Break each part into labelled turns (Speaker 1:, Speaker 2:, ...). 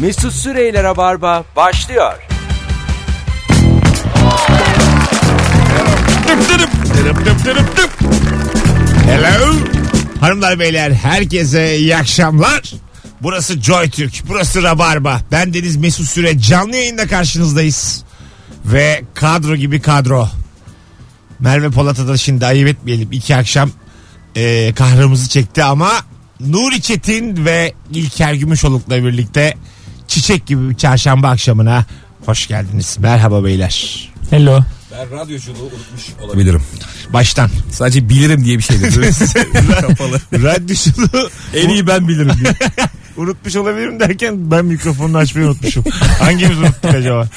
Speaker 1: Mesut Süreyle Rabarba başlıyor.
Speaker 2: Dıp dıp dıp dıp dıp dıp. Hello. Hanımlar beyler herkese iyi akşamlar. Burası Joy Türk, burası Rabarba. Ben Deniz Mesut Süre canlı yayında karşınızdayız. Ve kadro gibi kadro. Merve Polat'a da şimdi ayıp etmeyelim. İki akşam e, kahramızı çekti ama Nuri Çetin ve İlker Gümüşoluk'la birlikte çiçek gibi bir çarşamba akşamına hoş geldiniz. Merhaba beyler.
Speaker 3: Hello.
Speaker 4: Ben radyoculuğu unutmuş olabilirim.
Speaker 2: Baştan.
Speaker 4: Sadece bilirim diye bir şey dedi. Kapalı.
Speaker 2: Radyoculuğu
Speaker 4: En iyi ben bilirim diye.
Speaker 2: unutmuş olabilirim derken ben mikrofonunu açmayı unutmuşum. Hangimiz unuttuk acaba?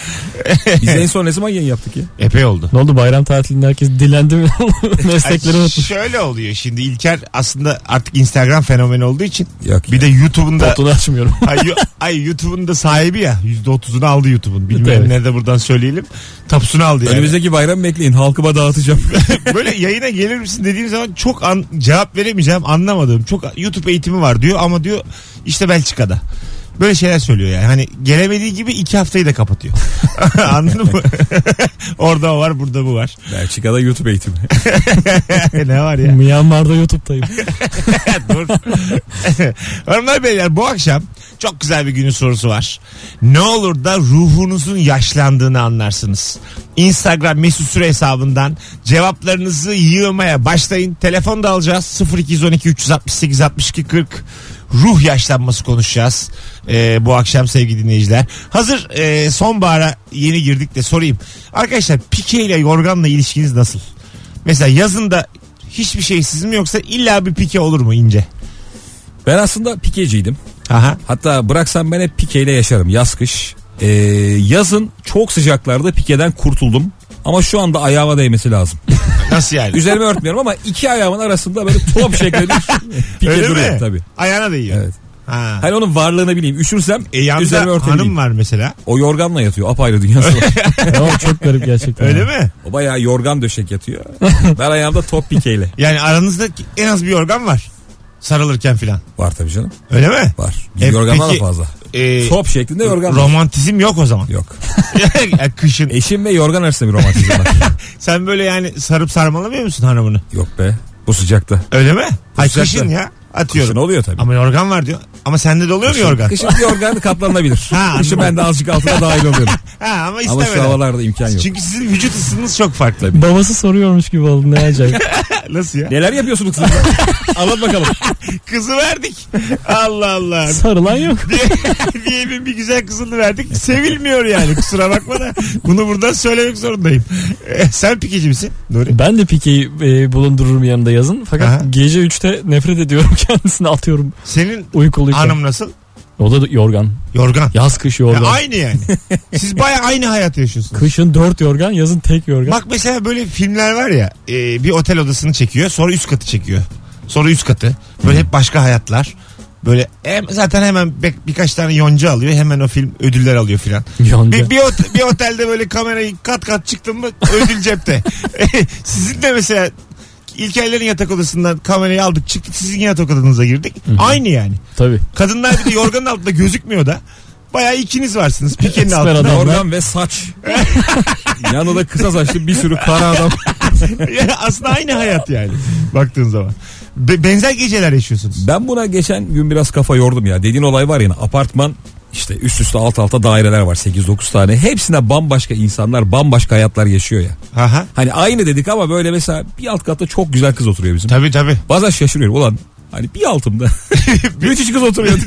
Speaker 4: Biz en son ne zaman yayın yaptık ya?
Speaker 2: Epey oldu.
Speaker 3: Ne oldu bayram tatilinde herkes dilendi mi? Meslekleri
Speaker 2: Ay,
Speaker 3: unutmuş.
Speaker 2: şöyle oluyor şimdi İlker aslında artık Instagram fenomeni olduğu için
Speaker 4: Yok
Speaker 2: bir de YouTube'un da
Speaker 3: Botunu açmıyorum.
Speaker 2: ay, yo- ay YouTube'un da sahibi ya %30'unu aldı YouTube'un bilmem
Speaker 3: Evet.
Speaker 2: ne de buradan söyleyelim tapusunu aldı yani.
Speaker 4: Önümüzdeki bayram bekleyin. Halkıma dağıtacağım.
Speaker 2: Böyle yayına gelir misin dediğim zaman çok an, cevap veremeyeceğim anlamadığım çok YouTube eğitimi var diyor ama diyor işte Belçika'da. Böyle şeyler söylüyor yani. Hani gelemediği gibi iki haftayı da kapatıyor. Anladın mı? Orada o var burada bu var.
Speaker 4: Belçika'da YouTube eğitimi.
Speaker 2: ne var ya?
Speaker 3: Myanmar'da YouTube'dayım.
Speaker 2: Dur. Hanımlar beyler bu akşam çok güzel bir günün sorusu var. Ne olur da ruhunuzun yaşlandığını anlarsınız. Instagram mesut süre hesabından cevaplarınızı yığmaya başlayın. Telefon da alacağız 0212 368 62 40. Ruh yaşlanması konuşacağız ee, bu akşam sevgili dinleyiciler. Hazır e, sonbahara yeni girdik de sorayım. Arkadaşlar pike ile yorganla ilişkiniz nasıl? Mesela yazın da hiçbir şey siz mi yoksa illa bir pike olur mu ince?
Speaker 4: Ben aslında pikeciydim.
Speaker 2: Aha.
Speaker 4: Hatta bıraksam ben hep pikeyle yaşarım. Yaz kış. Ee, yazın çok sıcaklarda pikeden kurtuldum. Ama şu anda ayağıma değmesi lazım.
Speaker 2: Nasıl yani?
Speaker 4: Üzerime örtmüyorum ama iki ayağımın arasında böyle top şeklinde pike
Speaker 2: Öyle
Speaker 4: duruyor
Speaker 2: mi?
Speaker 4: tabii.
Speaker 2: Ayağına değiyor.
Speaker 4: Evet.
Speaker 2: Ha.
Speaker 4: Hani onun varlığını bileyim. Üşürsem
Speaker 2: E yanında
Speaker 4: üzerime örtebileyim.
Speaker 2: hanım var mesela.
Speaker 4: O yorganla yatıyor. Apayrı dünyası var.
Speaker 3: Ama çok garip gerçekten.
Speaker 2: Öyle
Speaker 3: Ya.
Speaker 2: mi?
Speaker 4: O bayağı yorgan döşek yatıyor. ben ayağımda top pikeyle.
Speaker 2: Yani aranızda en az bir yorgan var. Sarılırken filan.
Speaker 4: Var tabii canım.
Speaker 2: Öyle mi?
Speaker 4: Var.
Speaker 2: E,
Speaker 4: Yorgandan
Speaker 2: peki-
Speaker 4: da fazla.
Speaker 2: Ee,
Speaker 4: Top şeklinde yorgan var.
Speaker 2: romantizm yok o zaman.
Speaker 4: Yok. E-
Speaker 2: Yani Kışın.
Speaker 4: Eşim ve yorgan arasında bir romantizm var.
Speaker 2: Sen böyle yani sarıp sarmalamıyor musun hanımını?
Speaker 4: Yok be. Bu sıcakta.
Speaker 2: Öyle mi? Ay
Speaker 4: Sıcakta.
Speaker 2: kışın ya. Atıyorum.
Speaker 4: Kışın oluyor tabii.
Speaker 2: Ama yorgan var diyor. Ama sende de oluyor mu yorgan?
Speaker 4: Kışın bir yorgan kaplanabilir.
Speaker 2: Ha, anladım.
Speaker 4: Kışın ben de azıcık altına dahil oluyorum.
Speaker 2: Ha, ama
Speaker 4: Ama şu
Speaker 2: istemeden.
Speaker 4: havalarda imkan yok.
Speaker 2: Çünkü sizin vücut ısınız çok farklı.
Speaker 3: Babası soruyormuş gibi oldu ne acayip.
Speaker 2: Nasıl ya?
Speaker 4: Neler yapıyorsunuz kızım? Anlat bakalım.
Speaker 2: Kızı verdik. Allah Allah.
Speaker 3: Sarılan yok.
Speaker 2: bir evin bir güzel kızını verdik. Sevilmiyor yani kusura bakma da. Bunu buradan söylemek zorundayım. E, sen pikeci misin Nuri?
Speaker 3: Ben de pikeyi e, bulundururum yanında yazın. Fakat
Speaker 2: Aha.
Speaker 3: gece 3'te nefret ediyorum kendisini atıyorum
Speaker 2: Senin
Speaker 3: uykuluyken.
Speaker 2: hanım nasıl?
Speaker 3: O da yorgan.
Speaker 2: Yorgan.
Speaker 3: Yaz kış
Speaker 2: Ya
Speaker 3: yorgan.
Speaker 2: aynı yani. Siz baya aynı hayat yaşıyorsunuz.
Speaker 3: Kışın 4 yorgan yazın tek yorgan.
Speaker 2: Bak mesela böyle filmler var ya e, bir otel odasını çekiyor sonra üst katı çekiyor. Sonra üst katı. Böyle hep başka hayatlar. Böyle hem, zaten hemen be- birkaç tane yonca alıyor. Hemen o film ödüller alıyor filan.
Speaker 3: Yonca.
Speaker 2: Bir, bir, ot- bir otelde böyle kamerayı kat kat çıktım mı ödül cepte. sizin de mesela İlkerlerin yatak odasından kamerayı aldık çıktık sizin yatak odanıza girdik. Aynı yani.
Speaker 3: Tabii.
Speaker 2: Kadınlar bir de yorganın altında gözükmüyor da. Bayağı ikiniz varsınız pikenin
Speaker 3: Esmer
Speaker 2: altında.
Speaker 3: adam.
Speaker 4: Yorgan ve saç. Yanında da kısa saçlı bir sürü kara adam.
Speaker 2: Yani Aslında aynı hayat yani baktığın zaman. Be- benzer geceler yaşıyorsunuz.
Speaker 4: Ben buna geçen gün biraz kafa yordum ya. Dediğin olay var ya apartman işte üst üste alt alta daireler var 8-9 tane. Hepsine bambaşka insanlar bambaşka hayatlar yaşıyor ya.
Speaker 2: Aha.
Speaker 4: Hani aynı dedik ama böyle mesela bir alt katta çok güzel kız oturuyor bizim.
Speaker 2: Tabii tabii.
Speaker 4: Bazen şaşırıyorum ulan hani bir altımda. Müthiş kız oturuyor.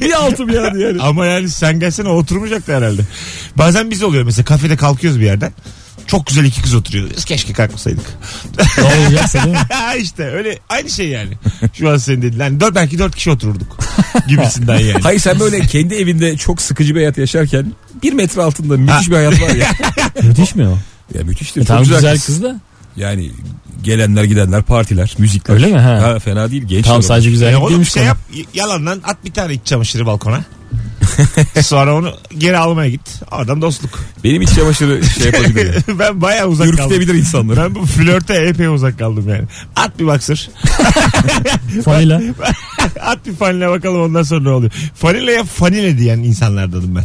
Speaker 4: bir altım yani yani.
Speaker 2: Ama yani sen gelsene oturmayacaktı herhalde. Bazen biz oluyor mesela kafede kalkıyoruz bir yerden. Çok güzel iki kız oturuyor. Biz keşke kalkmasaydık.
Speaker 3: Ne olacaksa değil mi?
Speaker 2: Ha işte öyle aynı şey yani. Şu an senin dediğin. Hani dört, belki dört kişi otururduk gibisinden yani.
Speaker 4: Hayır sen böyle kendi evinde çok sıkıcı bir hayat yaşarken bir metre altında müthiş bir hayat var ya.
Speaker 3: Müthiş mi o?
Speaker 4: ya müthiştir.
Speaker 3: E,
Speaker 4: çok
Speaker 3: tamam
Speaker 4: güzel,
Speaker 3: güzel
Speaker 4: kız.
Speaker 3: kız da.
Speaker 4: Yani gelenler gidenler partiler müzikler.
Speaker 3: Öyle mi? Ha.
Speaker 4: fena değil genç.
Speaker 3: Tamam
Speaker 4: adam.
Speaker 3: sadece
Speaker 2: Ya
Speaker 3: güzel
Speaker 2: E, oğlum
Speaker 3: değilmiş
Speaker 2: şey
Speaker 3: konu.
Speaker 2: yap y- yalandan at bir tane iç çamaşırı balkona. Sonra onu geri almaya git. Oradan dostluk.
Speaker 4: Benim iç çamaşırı şey yapabilir.
Speaker 2: ben bayağı uzak kaldım.
Speaker 4: Ürkütebilir insanları.
Speaker 2: Ben bu flörte epey uzak kaldım yani. At bir baksır.
Speaker 3: Fanila.
Speaker 2: At bir fanile bakalım ondan sonra ne oluyor. Fanileye fanile diyen insanlardanım ben.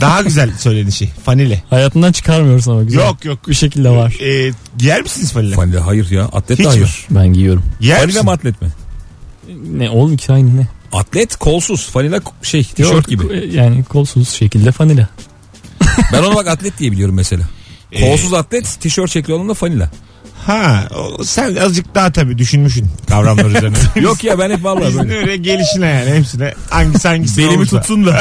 Speaker 2: Daha güzel söylenişi. Fanile.
Speaker 3: Hayatından çıkarmıyorsun ama güzel.
Speaker 2: Yok yok.
Speaker 3: Bir şekilde var.
Speaker 2: Ee, yer misiniz fanile?
Speaker 4: Fanile hayır ya. Atlet
Speaker 2: Hiç
Speaker 4: de
Speaker 2: mi?
Speaker 4: hayır.
Speaker 3: Ben giyiyorum.
Speaker 2: Yer
Speaker 4: Fanile
Speaker 2: misin?
Speaker 4: mi atlet mi?
Speaker 3: Ne oğlum ki aynı ne?
Speaker 4: Atlet kolsuz. Fanile k- şey tişört
Speaker 3: Yok,
Speaker 4: gibi.
Speaker 3: e, Yani kolsuz şekilde fanila.
Speaker 4: Ben ona bak atlet diye biliyorum mesela.
Speaker 2: Ee,
Speaker 4: Kolsuz atlet tişört şekli olan da fanile.
Speaker 2: Ha, o- sen azıcık daha tabii düşünmüşsün kavramlar üzerine.
Speaker 4: Yok ya ben hep vallahi
Speaker 2: Bizim
Speaker 4: böyle.
Speaker 2: öyle gelişine yani hepsine. Hangisi hangisi
Speaker 4: Belimi
Speaker 2: olursa.
Speaker 4: tutsun da.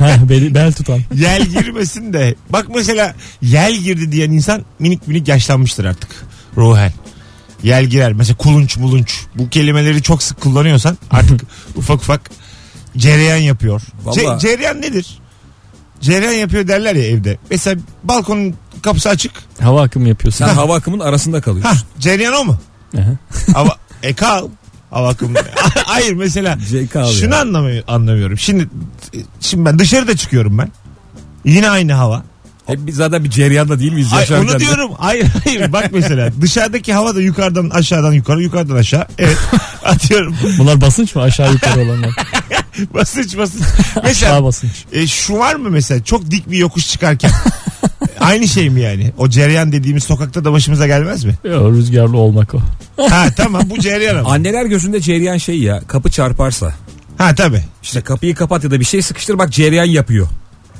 Speaker 3: ha, bel, bel tutan.
Speaker 2: Yel girmesin de. Bak mesela yel girdi diyen insan minik minik yaşlanmıştır artık. Ruhen. Yel girer. Mesela kulunç mulunç. Bu kelimeleri çok sık kullanıyorsan artık ufak ufak cereyan yapıyor. Ce-
Speaker 4: Vallahi-
Speaker 2: cereyan nedir? Cereyan yapıyor derler ya evde. Mesela balkonun kapısı açık.
Speaker 3: Hava akımı yapıyorsun.
Speaker 4: Sen hava akımının arasında
Speaker 2: Hah
Speaker 4: kalıyorsun.
Speaker 2: cereyan o mu?
Speaker 3: Aha.
Speaker 2: Hava, e kal. Hava akımı. Hayır mesela
Speaker 4: JK abi
Speaker 2: Şunu
Speaker 4: ya.
Speaker 2: anlamıyor, anlamıyorum. Şimdi şimdi ben dışarıda çıkıyorum ben. Yine aynı hava.
Speaker 4: Hep biz zaten bir ceryanda değil miyiz?
Speaker 2: Ay,
Speaker 4: yaşarken de?
Speaker 2: onu diyorum. Hayır hayır bak mesela dışarıdaki hava da yukarıdan aşağıdan yukarı yukarıdan aşağı. Evet atıyorum
Speaker 3: Bunlar basınç mı aşağı yukarı olanlar?
Speaker 2: basınç basınç.
Speaker 3: aşağı
Speaker 2: Mesela
Speaker 3: basınç.
Speaker 2: e, şu var mı mesela çok dik bir yokuş çıkarken aynı şey mi yani? O cereyan dediğimiz sokakta da başımıza gelmez mi?
Speaker 3: Ya, rüzgarlı olmak o.
Speaker 2: Ha tamam bu cereyan ama.
Speaker 4: Anneler gözünde cereyan şey ya kapı çarparsa
Speaker 2: Ha tabii.
Speaker 4: işte kapıyı kapat ya da bir şey sıkıştır bak cereyan yapıyor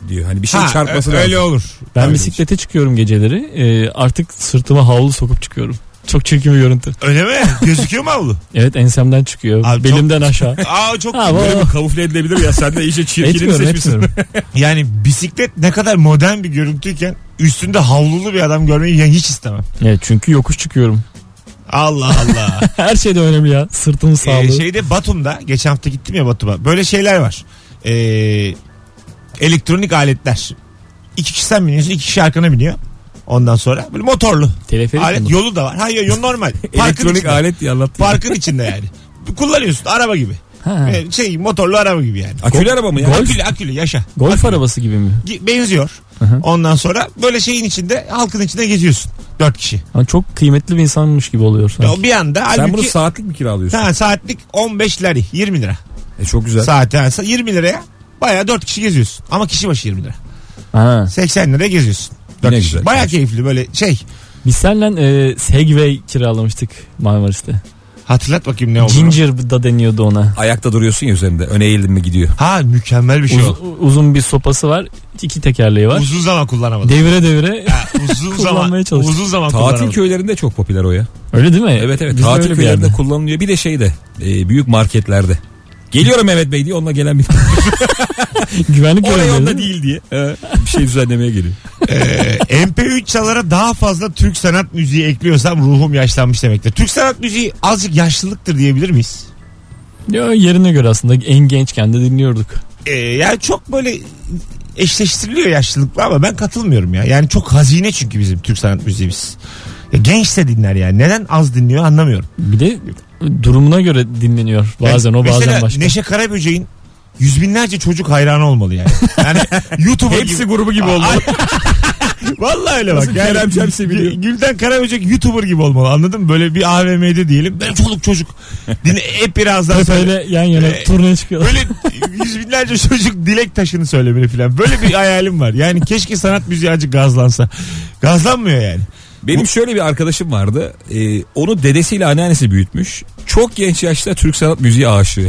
Speaker 4: diyor. Hani bir şey
Speaker 2: Ha,
Speaker 4: çarpması
Speaker 2: ö-
Speaker 4: lazım.
Speaker 2: öyle olur.
Speaker 3: Ben
Speaker 2: Tabii.
Speaker 3: bisiklete çıkıyorum geceleri. E, artık sırtıma havlu sokup çıkıyorum. Çok çirkin bir görüntü.
Speaker 2: Öyle mi? Gözüküyor mu avlu?
Speaker 3: Evet ensemden çıkıyor.
Speaker 2: Abi çok-
Speaker 3: belimden aşağı.
Speaker 2: Aa çok
Speaker 3: Ha,
Speaker 4: Böyle
Speaker 3: bu-
Speaker 4: bir kamufle edilebilir ya sen de iyice çirkinini
Speaker 3: Etmiyorum
Speaker 4: seçmişsin.
Speaker 3: etmiyorum.
Speaker 2: Yani bisiklet ne kadar modern bir görüntüyken üstünde havlulu bir adam görmeyi ya hiç istemem.
Speaker 3: Evet, çünkü yokuş çıkıyorum.
Speaker 2: Allah Allah.
Speaker 3: Her şey de önemli ya. Sırtımın sağlığı.
Speaker 2: ee, şeyde Batum'da geçen hafta gittim ya Batum'a. Böyle şeyler var. Ee, elektronik aletler. İki kişi sen biniyorsun, iki kişi arkana biniyor. Ondan sonra böyle motorlu.
Speaker 3: Teleferik
Speaker 2: alet
Speaker 3: mi?
Speaker 2: yolu da var. Hayır yol normal. Parkın
Speaker 4: Elektronik
Speaker 2: içinde.
Speaker 4: alet diye anlattı.
Speaker 2: Parkın içinde yani. Kullanıyorsun araba gibi.
Speaker 3: Ha,
Speaker 2: Ee, Şey motorlu araba gibi yani.
Speaker 4: Akülü araba mı ya?
Speaker 3: Golf.
Speaker 2: Akülü akülü yaşa.
Speaker 3: golf arabası gibi mi?
Speaker 2: Gi- benziyor.
Speaker 3: hı.
Speaker 2: Ondan sonra böyle şeyin içinde halkın içinde geziyorsun. Dört kişi.
Speaker 3: Ama çok kıymetli bir insanmış gibi oluyor
Speaker 2: Ve
Speaker 3: sanki.
Speaker 2: o bir anda
Speaker 4: Sen
Speaker 2: halbuki
Speaker 4: bunu saatlik mi kiralıyorsun?
Speaker 2: ha, saatlik 15 lari 20 lira.
Speaker 4: E çok güzel.
Speaker 2: Saat yani sa- 20 liraya bayağı dört kişi geziyorsun. Ama kişi başı 20 lira.
Speaker 3: Ha.
Speaker 2: 80 liraya geziyorsun. Dört
Speaker 4: Ne
Speaker 2: kişi.
Speaker 4: güzel.
Speaker 2: Bayağı keyifli böyle şey.
Speaker 3: Biz seninle e, Segway kiralamıştık Marmaris'te.
Speaker 2: Hatırlat bakayım ne oldu.
Speaker 3: Ginger da deniyordu ona.
Speaker 4: Ayakta duruyorsun ya üzerinde. Öne eğildin mi gidiyor.
Speaker 2: Ha mükemmel bir şey o.
Speaker 3: Uz- uzun bir sopası var. iki tekerleği var.
Speaker 2: Uzun zaman kullanamadım.
Speaker 3: Devire devire.
Speaker 2: Ha, uzun zaman
Speaker 3: Kullanmaya çalıştım.
Speaker 2: uzun zaman
Speaker 4: Tatil
Speaker 2: kullanamadım.
Speaker 4: köylerinde çok popüler o ya.
Speaker 3: Öyle değil mi?
Speaker 4: Evet evet.
Speaker 3: Biz de öyle
Speaker 4: tatil
Speaker 3: bir
Speaker 4: köylerinde
Speaker 3: yerde.
Speaker 4: kullanılıyor. Bir de şeyde e, büyük marketlerde. Geliyorum Mehmet Bey diye onunla gelen bir
Speaker 3: Güvenlik
Speaker 4: Oraya
Speaker 3: görevlileri.
Speaker 4: onda değil diye. e, bir şey düzenlemeye geliyor.
Speaker 2: Ee, MP3 çalara daha fazla Türk sanat müziği ekliyorsam ruhum yaşlanmış demektir. Türk sanat müziği azıcık yaşlılıktır diyebilir miyiz?
Speaker 3: Yo, yerine göre aslında en gençken de dinliyorduk.
Speaker 2: Ee, yani çok böyle eşleştiriliyor yaşlılıkla ama ben katılmıyorum ya. Yani çok hazine çünkü bizim Türk sanat müziğimiz. Ya genç de dinler yani. Neden az dinliyor anlamıyorum.
Speaker 3: Bir de durumuna göre dinleniyor. Bazen
Speaker 2: Yani
Speaker 3: o
Speaker 2: mesela
Speaker 3: bazen başka.
Speaker 2: Neşe Karaböcek'in yüz binlerce çocuk hayranı olmalı yani. Yani YouTube'a
Speaker 4: Hepsi grubu gibi oldu.
Speaker 2: Vallahi öyle bak.
Speaker 4: Nasıl Kerem Cemsi biliyor?
Speaker 2: Gü- Gülden Karaböcek YouTuber gibi olmalı anladın mı? Böyle bir AVM'de diyelim. Benim çoluk çocuk. Dinle, hep birazdan
Speaker 3: Hep
Speaker 2: söyle.
Speaker 3: öyle yan yana
Speaker 2: Ee,
Speaker 3: turneye çıkıyorlar.
Speaker 2: Böyle yüz binlerce çocuk dilek taşını söylemeli falan. Böyle bir hayalim var. Yani keşke sanat müziği acık gazlansa. Gazlanmıyor yani.
Speaker 4: Benim şöyle bir arkadaşım vardı. Ee, onu dedesiyle anneannesi büyütmüş. Çok genç yaşta Türk sanat müziği aşığı.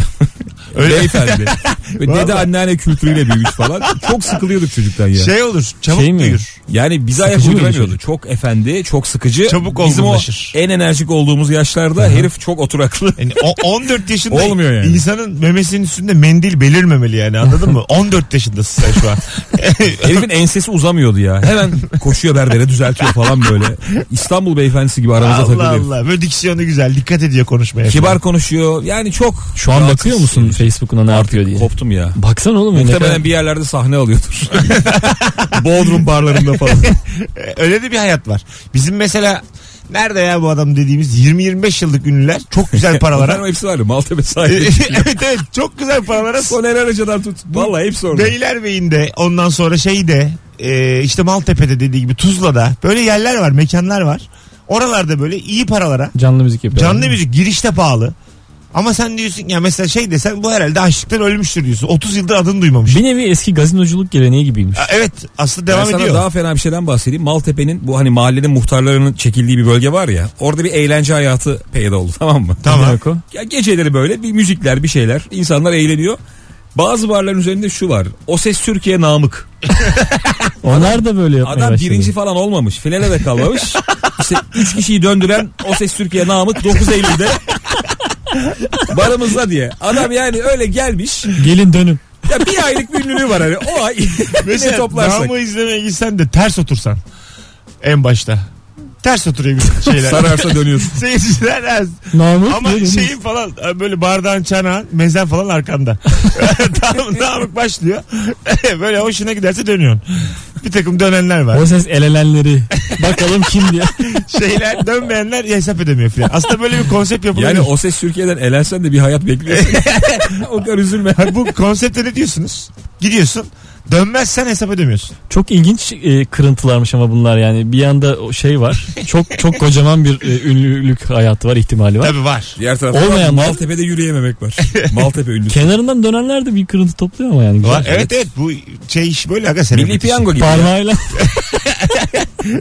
Speaker 2: Öyle-
Speaker 4: Beyefendi. Ve
Speaker 2: Vallahi.
Speaker 4: dede anneanne kültürüyle büyümüş falan. Çok sıkılıyorduk çocuktan ya.
Speaker 2: Şey olur. Çabuk
Speaker 3: Şey mi?
Speaker 2: büyür.
Speaker 4: yani bize ayak
Speaker 3: Sıkıcı mıydı
Speaker 4: uyduramıyordu.
Speaker 3: çocuk?
Speaker 4: Çok efendi, çok sıkıcı.
Speaker 2: Çabuk
Speaker 4: Bizim o
Speaker 2: olgunlaşır.
Speaker 4: en enerjik olduğumuz yaşlarda herif çok oturaklı.
Speaker 2: Yani o- 14 yaşında
Speaker 4: Olmuyor yani.
Speaker 2: insanın memesinin üstünde mendil belirmemeli yani anladın mı? 14 yaşındasın sen şu an.
Speaker 4: Herifin ensesi uzamıyordu ya. Hemen koşuyor berbere düzeltiyor falan böyle. İstanbul beyefendisi gibi aramıza
Speaker 2: Allah
Speaker 4: takılıyor. herif.
Speaker 2: Allah. Böyle diksiyonu güzel. Dikkat ediyor konuşmaya.
Speaker 4: Kibar konuşuyor. Yani çok.
Speaker 3: Şu an
Speaker 4: rahatsız
Speaker 3: bakıyor musun
Speaker 4: edici.
Speaker 3: Facebook'una ne yapıyor diye?
Speaker 4: Koptum ya.
Speaker 3: Baksana oğlum ya ne
Speaker 4: Muhtemelen
Speaker 3: kadar-
Speaker 4: bir yerlerde sahne alıyordur. Bodrum barlarında falan.
Speaker 2: E, Öyle de bir hayat var. Bizim mesela Nerede ya bu adam dediğimiz 20-25 yıllık ünlüler çok güzel
Speaker 4: Onların
Speaker 2: paralara.
Speaker 4: hepsi var ya Maltepe sahibi.
Speaker 2: evet evet çok güzel paralara.
Speaker 4: Soner Arıcı'dan tut. Vallahi hepsi orada.
Speaker 2: Beylerbeyi'nde ondan sonra şeyde e, işte Maltepe'de dediği gibi Tuzla'da böyle yerler var mekanlar var. Oralarda böyle iyi paralara
Speaker 3: Canlı müzik yapıyor.
Speaker 2: canlı müzik girişte pahalı. Ama sen diyorsun ya mesela şey desen bu herhalde açlıktan ölmüştür diyorsun. 30 yıldır adını duymamış.
Speaker 3: Bir nevi eski gazinoculuk geleneği gibiymiş.
Speaker 2: A- Evet aslında
Speaker 4: Ben
Speaker 2: devam
Speaker 4: sana
Speaker 2: ediyor.
Speaker 4: daha fena bir şeyden bahsedeyim. Maltepe'nin bu hani mahallenin muhtarlarının çekildiği bir bölge var ya. Orada bir eğlence hayatı peyda oldu tamam mı?
Speaker 2: Tamam.
Speaker 3: Ne demek o?
Speaker 4: Ya geceleri böyle bir müzikler bir şeyler. insanlar eğleniyor. Bazı barların üzerinde şu var. O ses Türkiye namık.
Speaker 3: Onlar da böyle yapmaya
Speaker 4: Adam
Speaker 3: başladı.
Speaker 4: birinci falan olmamış. Finale de kalmamış. işte üç kişiyi döndüren O Ses Türkiye namık 9 Eylül'de. Barımızda diye. Adam yani öyle gelmiş.
Speaker 3: Gelin dönün.
Speaker 4: Ya bir aylık bir ünlülüğü var hani. O ay ne
Speaker 2: Mesela
Speaker 4: toplarsak.
Speaker 2: dramı izlemeye gitsen de ters otursan en başta. Ters oturuyor bir şeyler.
Speaker 4: Sararsa dönüyorsun.
Speaker 2: Seyirciler az.
Speaker 3: Namık
Speaker 2: Ama
Speaker 3: gelin.
Speaker 2: şeyin falan e, böyle bardağın çanağın mezen falan arkanda. Tam namık başlıyor. böyle hoşuna giderse dönüyorsun. Bir takım dönenler var.
Speaker 3: O ses elelenleri. Bakalım kim diye.
Speaker 2: Şeyler dönmeyenler hesap edemiyor filan. Aslında böyle bir konsept yapılıyor.
Speaker 4: Yani O Ses Türkiye'den elensen de bir hayat bekliyorsun. o kadar üzülme.
Speaker 2: Ha, bu konsepte ne diyorsunuz? Gidiyorsun. Dönmezsen hesap ödemiyorsun.
Speaker 3: Çok ilginç e, kırıntılarmış ama bunlar yani. Bir yanda o şey var. Çok çok kocaman bir e, ünlülük hayatı var ihtimali var.
Speaker 2: Tabii var.
Speaker 4: Diğer tarafta
Speaker 3: Olmayanlar-
Speaker 4: Maltepe'de yürüyememek var. Maltepe ünlüsü.
Speaker 3: Kenarından dönenler de bir kırıntı topluyor ama yani. Güzel.
Speaker 2: Var. Evet evet bu şey iş böyle aga senin.
Speaker 4: Milli piyango gibi. ya.
Speaker 3: Parmağıyla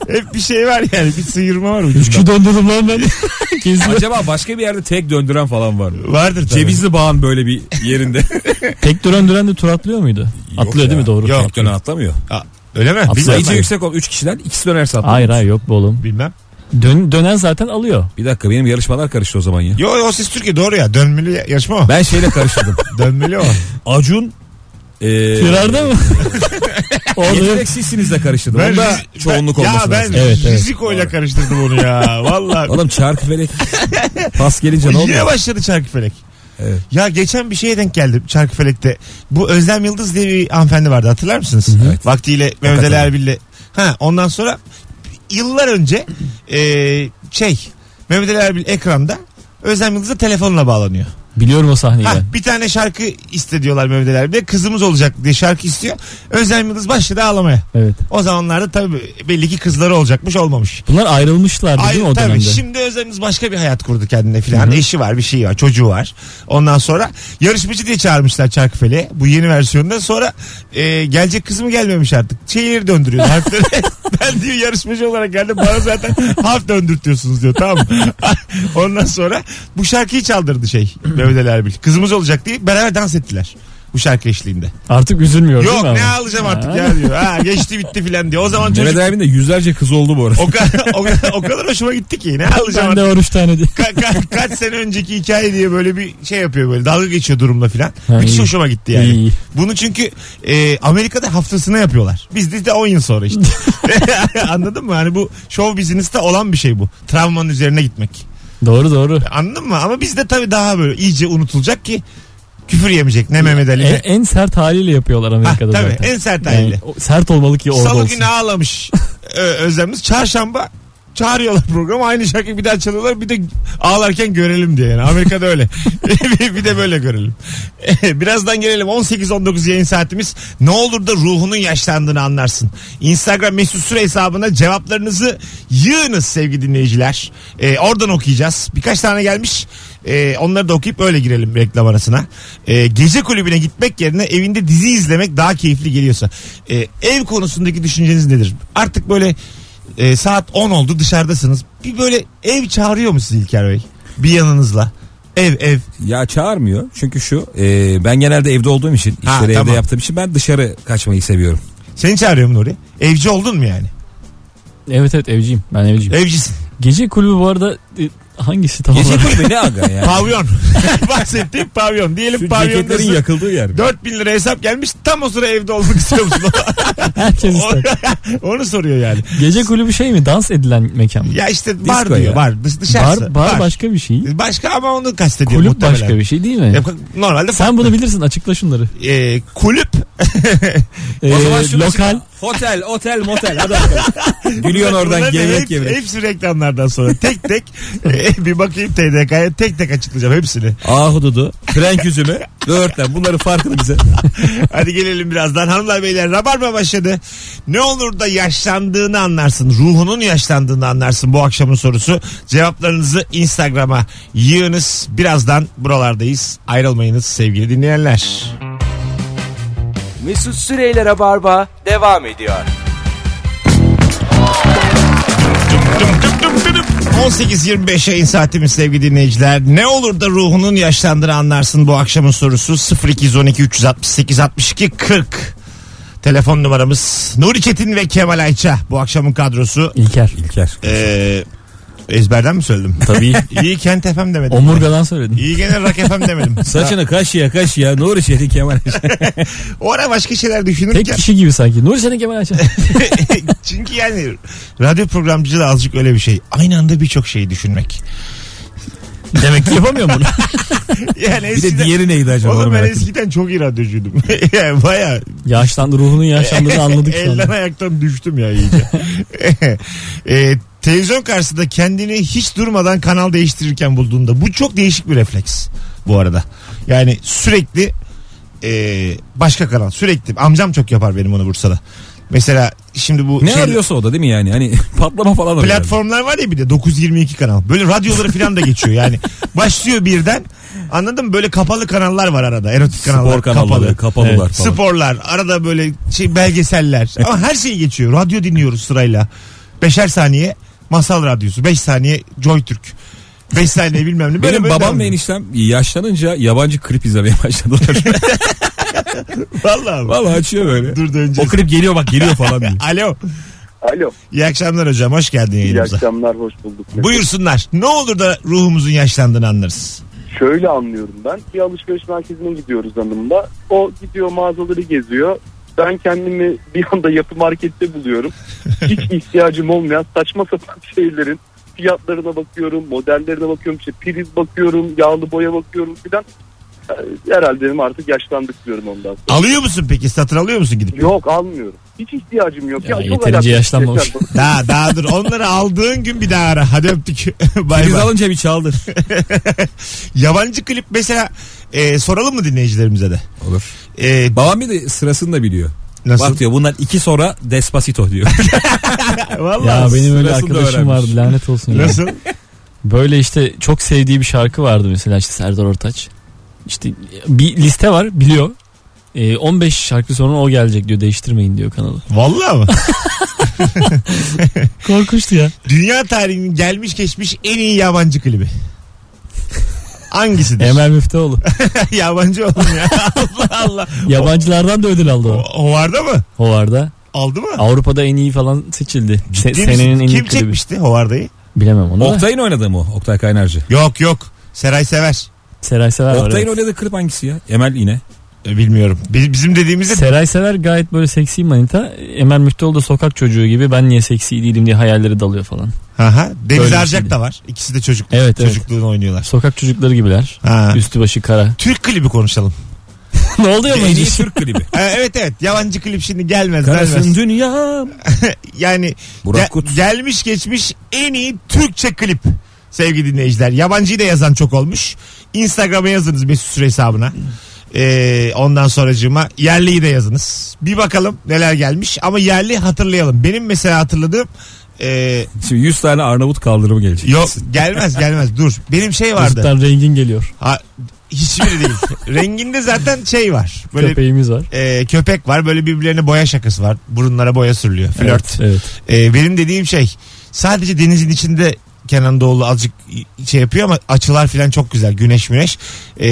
Speaker 2: Hep bir şey var yani bir sıyırma var ucunda.
Speaker 3: üçkü döndürdüm lan ben. Kesin.
Speaker 4: Acaba başka bir yerde tek döndüren falan var mı?
Speaker 2: Vardır tabii.
Speaker 4: Cevizli Bağ'ın böyle bir yerinde.
Speaker 3: Tek döndüren de tur atlıyor muydu? atlıyor
Speaker 4: ya.
Speaker 3: değil mi doğru?
Speaker 2: Yok.
Speaker 4: Tek dönen atlamıyor.
Speaker 2: Aa, öyle mi?
Speaker 3: Atlayıcı
Speaker 2: Bilmem
Speaker 4: İyice
Speaker 2: ben.
Speaker 4: yüksek ol. Üç kişiden ikisi dönerse atlamıyor.
Speaker 3: Hayır hayır yok bu oğlum.
Speaker 2: Bilmem.
Speaker 3: Dön, dönen zaten alıyor.
Speaker 4: Bir dakika benim yarışmalar karıştı o zaman ya.
Speaker 2: Yo yo siz Türkiye doğru ya. Dönmeli yarışma o.
Speaker 4: Ben şeyle karıştırdım.
Speaker 2: Dönmeli o.
Speaker 4: Acun e,
Speaker 3: Firarda mı? Orada yok.
Speaker 4: Yetenek sizsinizle karıştırdım.
Speaker 2: Ben
Speaker 4: Onda
Speaker 2: riz-
Speaker 4: çoğunluk
Speaker 2: ben,
Speaker 4: olması
Speaker 2: ya ben
Speaker 4: lazım.
Speaker 3: Evet, evet.
Speaker 2: Riziko'yla karıştırdım onu ya. Valla.
Speaker 4: Oğlum çarkı felek. Pas gelince ne
Speaker 2: Yine
Speaker 4: oluyor?
Speaker 2: başladı Çarkıfelek.
Speaker 4: Evet.
Speaker 2: Ya geçen bir şeye denk geldim Çarkıfelek'te. Bu Özlem Yıldız diye bir hanımefendi vardı hatırlar mısınız?
Speaker 4: Evet.
Speaker 2: Vaktiyle Mehmet Ali
Speaker 4: Hakikaten.
Speaker 2: Erbil'le. Ha, ondan sonra yıllar önce e, şey Mehmet Ali Erbil ekranda Özlem Yıldız'a telefonla bağlanıyor.
Speaker 3: Biliyorum o sahneyi
Speaker 2: Ha,
Speaker 3: ben.
Speaker 2: bir tane şarkı iste diyorlar Mehmet Ali Erbil'e. Kızımız olacak diye şarkı istiyor. Özlem Yıldız başladı ağlamaya.
Speaker 3: Evet.
Speaker 2: O zamanlarda tabii belli ki kızları olacakmış olmamış.
Speaker 3: Bunlar ayrılmışlardı değil mi o
Speaker 2: Ay,
Speaker 3: dönemde?
Speaker 2: Şimdi Özlem'imiz başka bir hayat kurdu kendine filan. Eşi var bir şey var çocuğu var. Ondan sonra yarışmacı diye çağırmışlar Çarkıfel'e bu yeni versiyonda. Sonra e, gelecek kız mı gelmemiş artık. Şehir döndürüyor harfleri. ben diyor yarışmacı olarak geldim bana zaten harf döndürtüyorsunuz diyor tamam mı? Ondan sonra bu şarkıyı çaldırdı şey Mehmet Ali Erbil. Kızımız olacak diye beraber dans ettiler. Bu şarkı eşliğinde.
Speaker 3: Artık üzülmüyor
Speaker 2: Yok
Speaker 3: değil mi?
Speaker 2: ne
Speaker 3: ama?
Speaker 2: alacağım
Speaker 3: Ha.
Speaker 2: artık ya diyor. Ha geçti bitti filan diyor. O zaman çocuk
Speaker 4: Mehmet Erbil'in de yüzlerce kız oldu bu arada.
Speaker 2: o kadar, o kadar, o kadar hoşuma gitti ki ne alacağım
Speaker 3: Ben de oruç tane diye.
Speaker 2: Ka- ka- kaç sene önceki hikaye diye böyle bir şey yapıyor böyle dalga geçiyor durumla filan.
Speaker 3: Ha,
Speaker 2: Müthiş
Speaker 3: iyi.
Speaker 2: hoşuma gitti yani.
Speaker 3: İyi.
Speaker 2: Bunu çünkü e, Amerika'da haftasına yapıyorlar. Bizde de 10 yıl sonra işte. Anladın mı? Hani bu show business'ta olan bir şey bu. Travmanın üzerine gitmek.
Speaker 3: Doğru doğru.
Speaker 2: Anladın mı? Ama bizde tabii daha böyle iyice unutulacak ki küfür yemeyecek ne Mehmet Ali
Speaker 3: En,
Speaker 2: ne.
Speaker 3: en sert haliyle yapıyorlar
Speaker 2: Ha,
Speaker 3: Amerika'da
Speaker 2: tabii
Speaker 3: zaten.
Speaker 2: en sert
Speaker 3: Yani
Speaker 2: haliyle.
Speaker 3: o- sert olmalı ki orada
Speaker 2: Salı
Speaker 3: olsun.
Speaker 2: günü ağlamış Ö- Özlem'imiz. Çarşamba çağırıyorlar programı. Aynı şarkıyı bir daha çalıyorlar. Bir de ağlarken görelim diye. Yani Amerika'da öyle. bir, bir de böyle görelim. E, Birazdan gelelim. 18-19 yayın saatimiz. Ne olur da ruhunun yaşlandığını anlarsın. Instagram mesut süre hesabına cevaplarınızı yığınız sevgili dinleyiciler. Ee, oradan okuyacağız. Birkaç tane gelmiş. Ee, onları da okuyup öyle girelim reklam arasına. Ee, gece kulübüne gitmek yerine evinde dizi izlemek daha keyifli geliyorsa. Ee, ev konusundaki düşünceniz nedir? Artık böyle e, saat 10 oldu dışarıdasınız. Bir böyle ev çağırıyor mu sizi İlker Bey? Bir yanınızla. Ev ev.
Speaker 4: Ya çağırmıyor. Çünkü şu e, ben genelde evde olduğum için işleri
Speaker 2: Ha,
Speaker 4: evde
Speaker 2: tamam.
Speaker 4: yaptığım için ben dışarı kaçmayı seviyorum.
Speaker 2: Seni çağırıyor mu Nuri? Evci oldun mu yani?
Speaker 3: Evet evet evciyim. Ben evciyim.
Speaker 2: Evcisin.
Speaker 3: Gece kulübü bu arada e, hangisi tam
Speaker 4: Gece
Speaker 3: olarak?
Speaker 4: kulübü ne aga ya?
Speaker 2: Pavyon. Bahsettiğim pavyon. Diyelim
Speaker 4: Şu ceketlerin
Speaker 2: pavyondasın.
Speaker 4: yakıldığı yer.
Speaker 2: 4000 lira hesap gelmiş tam o sıra evde olmak istiyor musun?
Speaker 3: Herkes ister.
Speaker 2: Onu soruyor yani.
Speaker 3: Gece kulübü şey mi? Dans edilen mekan mı?
Speaker 2: Ya işte bar
Speaker 4: Disco
Speaker 2: diyor
Speaker 4: ya.
Speaker 2: bar. Dış- Dışarısı.
Speaker 3: Bar, bar başka bir şey.
Speaker 2: Başka ama onu kastediyor
Speaker 3: Kulüp
Speaker 2: muhtemelen. E,
Speaker 3: başka bir şey değil mi?
Speaker 2: Ya, Normalde
Speaker 3: Sen bunu bilirsin açıkla şunları.
Speaker 2: e, kulüp
Speaker 3: Ee,
Speaker 4: zaman şunu
Speaker 3: lokal
Speaker 4: açıkla. Hotel, otel, motel. Hadi bakalım. Gülüyorsun oradan
Speaker 2: Bunların
Speaker 4: gevrek
Speaker 2: hep-
Speaker 4: gevrek.
Speaker 2: Hepsi reklamlardan sonra. Tek tek e, bir bakayım TDK'ya tek tek açıklayacağım hepsini.
Speaker 4: Ahududu, frenk üzümü, böğürtlen. Bunların farkını bize.
Speaker 2: Hadi gelelim birazdan. Hanımlar beyler rabarba başladı. Ne olur da yaşlandığını anlarsın. Ruhunun yaşlandığını anlarsın bu akşamın sorusu. Cevaplarınızı Instagram'a yığınız. Birazdan buralardayız. Ayrılmayınız sevgili dinleyenler.
Speaker 1: Mesut Süreyler'e barba devam ediyor.
Speaker 2: 18-25 yayın saatimiz sevgili dinleyiciler. Ne olur da ruhunun yaşlandığını anlarsın bu akşamın sorusu 0212 368 62 40. Telefon numaramız Nuri Çetin ve Kemal Ayça bu akşamın kadrosu.
Speaker 3: İlker.
Speaker 4: İlker.
Speaker 2: Ee, ezberden mi söyledim?
Speaker 3: Tabii.
Speaker 2: İyi Kent FM demedim.
Speaker 3: Omurgadan söyledin.
Speaker 2: İyi gene Rock FM demedim.
Speaker 4: Saçını kaşıya kaşıya Nuri Çetin Kemal Ayşe.
Speaker 2: O ara başka şeyler
Speaker 3: Tek
Speaker 2: düşünürken.
Speaker 3: kişi gibi sanki. Nuri senin Kemal Ayça.
Speaker 2: çünkü yani radyo programcılığı da azıcık öyle bir şey. Aynı anda birçok şeyi düşünmek.
Speaker 3: Demek ki yapamıyor bunu.
Speaker 2: Yani
Speaker 4: Bir de
Speaker 2: eskiden...
Speaker 4: diğeri neydi acaba? onu
Speaker 2: Oğlum ben
Speaker 4: merak ettim.
Speaker 2: eskiden çok iyi radyocuydum. yani bayağı
Speaker 3: Yaşlandı ruhunun yaşlandığını anladık şu
Speaker 2: Elden
Speaker 3: anda.
Speaker 2: ayaktan düştüm ya iyice. Ee, televizyon karşısında kendini hiç durmadan kanal değiştirirken bulduğunda bu çok değişik bir refleks bu arada. Yani sürekli e, başka kanal sürekli amcam çok yapar benim onu Bursa'da. Mesela şimdi bu
Speaker 4: Ne
Speaker 2: şey-
Speaker 4: arıyorsa o da değil mi yani? Hani patlama falan oluyor.
Speaker 2: platformlar var ya bir de 922 kanal. Böyle radyoları falan da geçiyor yani. Başlıyor birden. Anladın mı? Böyle kapalı kanallar var arada. Erotik kanallar
Speaker 4: Spor kanalları,
Speaker 2: kapalı.
Speaker 4: kapalılar
Speaker 3: Evet.
Speaker 4: falan.
Speaker 2: Sporlar, arada böyle şey belgeseller. Ama her şey geçiyor. Radyo dinliyoruz sırayla. Beşer saniye masal radyosu. Beş saniye Joy Türk. Beş saniye bilmem ne. Böyle
Speaker 4: Benim
Speaker 2: böyle
Speaker 4: babam
Speaker 2: devam
Speaker 4: ve
Speaker 2: ediyor.
Speaker 4: eniştem yaşlanınca yabancı klip izlemeye başladılar.
Speaker 2: Vallahi.
Speaker 4: Vallahi açıyor böyle.
Speaker 2: Dur da önce.
Speaker 4: O klip geliyor bak geliyor falan diye.
Speaker 2: Alo.
Speaker 5: Alo.
Speaker 2: İyi akşamlar hocam. Hoş geldin
Speaker 5: İyi
Speaker 2: yayınımıza.
Speaker 5: akşamlar, hoş bulduk.
Speaker 2: Buyursunlar. Ne olur da ruhumuzun yaşlandığını anlarız.
Speaker 5: Şöyle anlıyorum ben. Bir alışveriş merkezine gidiyoruz hanımla. O gidiyor mağazaları geziyor. Ben kendimi bir anda yapı markette buluyorum. Hiç ihtiyacım olmayan saçma sapan şeylerin fiyatlarına bakıyorum, modellerine bakıyorum, işte priz bakıyorum, yağlı boya bakıyorum filan. Ee, Herhalde dedim artık yaşlandık diyorum ondan sonra.
Speaker 2: Alıyor musun peki? Satın alıyor musun gidip?
Speaker 5: Yok almıyorum. Hiç ihtiyacım
Speaker 3: Ya,
Speaker 5: yok. çok
Speaker 3: yeterince
Speaker 5: alakasız şey
Speaker 3: yaşlanmamış.
Speaker 5: şeyler bakıyorum.
Speaker 2: Daha daha dur. Onları aldığın gün bir daha ara. Hadi öptük. bay
Speaker 4: Priz
Speaker 2: bay.
Speaker 4: alınca bir çaldır.
Speaker 2: Yabancı klip mesela e, soralım mı dinleyicilerimize de?
Speaker 4: Olur.
Speaker 2: E,
Speaker 4: Babam bir de sırasını da biliyor.
Speaker 2: nasıl?
Speaker 4: Bak diyor bundan iki sonra Despacito diyor.
Speaker 3: Ya
Speaker 2: Vallahi.
Speaker 3: benim öyle
Speaker 4: sırasını da
Speaker 3: arkadaşım
Speaker 4: öğrenmiş.
Speaker 3: vardı lanet olsun ya.
Speaker 2: Nasıl?
Speaker 3: Böyle işte çok sevdiği bir şarkı vardı mesela işte Serdar Ortaç. İşte bir liste var biliyor. Ee, 15 şarkı sonra o gelecek diyor değiştirmeyin diyor kanalı.
Speaker 2: Vallahi mı?
Speaker 3: Korkunçtu ya.
Speaker 2: Dünya tarihinin gelmiş geçmiş en iyi yabancı klibi. Hangisidir?
Speaker 3: Emel Müftüoğlu.
Speaker 2: yabancı oğlum ya. Allah Allah.
Speaker 3: Yabancılardan da ödül aldı
Speaker 2: O,
Speaker 3: o.
Speaker 2: o vardı mı?
Speaker 3: Hovarda.
Speaker 2: Aldı mı?
Speaker 3: Avrupa'da en iyi falan seçildi. Se-
Speaker 2: Ciddi misin?
Speaker 3: senenin en iyi
Speaker 2: Kim
Speaker 3: klibi.
Speaker 2: çekmişti Hovarda'yı?
Speaker 3: Bilemem onu da.
Speaker 4: Oktay'ın oynadığı mı? o? Oktay Kaynarcı.
Speaker 2: Yok yok. Seray Sever.
Speaker 3: Seray Sever var.
Speaker 4: Oktay'ın
Speaker 3: evet.
Speaker 4: oynadığı klip hangisi ya? Emel yine.
Speaker 2: E, Bilmiyorum. Bi- Bizim dediğimizde
Speaker 3: Seray Sever gayet böyle seksi manita. Emel Müftüoğlu da sokak çocuğu gibi ben niye seksi değilim diye hayalleri dalıyor falan.
Speaker 2: Aha, Deniz
Speaker 3: Öyle
Speaker 2: Arcak
Speaker 3: şimdi.
Speaker 2: da var. İkisi de çocukluk,
Speaker 3: Evet, evet.
Speaker 2: çocukluğunu oynuyorlar.
Speaker 3: Sokak çocukları gibiler.
Speaker 2: Ha.
Speaker 3: Üstü başı kara.
Speaker 2: Türk klibi konuşalım.
Speaker 3: ne oldu ya
Speaker 4: En iyi
Speaker 3: bence?
Speaker 4: Türk klibi.
Speaker 2: Ee, evet evet yabancı klip şimdi gelmez.
Speaker 4: Karasın
Speaker 2: gelmez.
Speaker 4: dünya.
Speaker 2: Yani
Speaker 4: Burak
Speaker 2: ge-
Speaker 4: Kut.
Speaker 2: gelmiş geçmiş en iyi Türkçe klip sevgili dinleyiciler. Yabancıyı da yazan çok olmuş. Instagram'a yazınız Mesut Süre hesabına. Ee, ondan sonracığıma yerliyi de yazınız. Bir bakalım neler gelmiş ama yerli hatırlayalım. Benim mesela hatırladığım e,
Speaker 4: Şimdi 100 tane Arnavut kaldırımı gelecek.
Speaker 2: yok gelmez gelmez dur. Benim şey vardı.
Speaker 3: Vücuttan rengin geliyor.
Speaker 2: Ha, hiçbiri değil. Renginde zaten şey var. Böyle
Speaker 3: Köpeğimiz var.
Speaker 2: e, köpek var. Böyle birbirlerine boya şakası var. Burunlara boya sürülüyor. Flört.
Speaker 3: Evet. evet.
Speaker 2: E, benim dediğim şey sadece denizin içinde Kenan Doğulu azıcık şey yapıyor ama açılar falan çok güzel. Güneş müneş. E,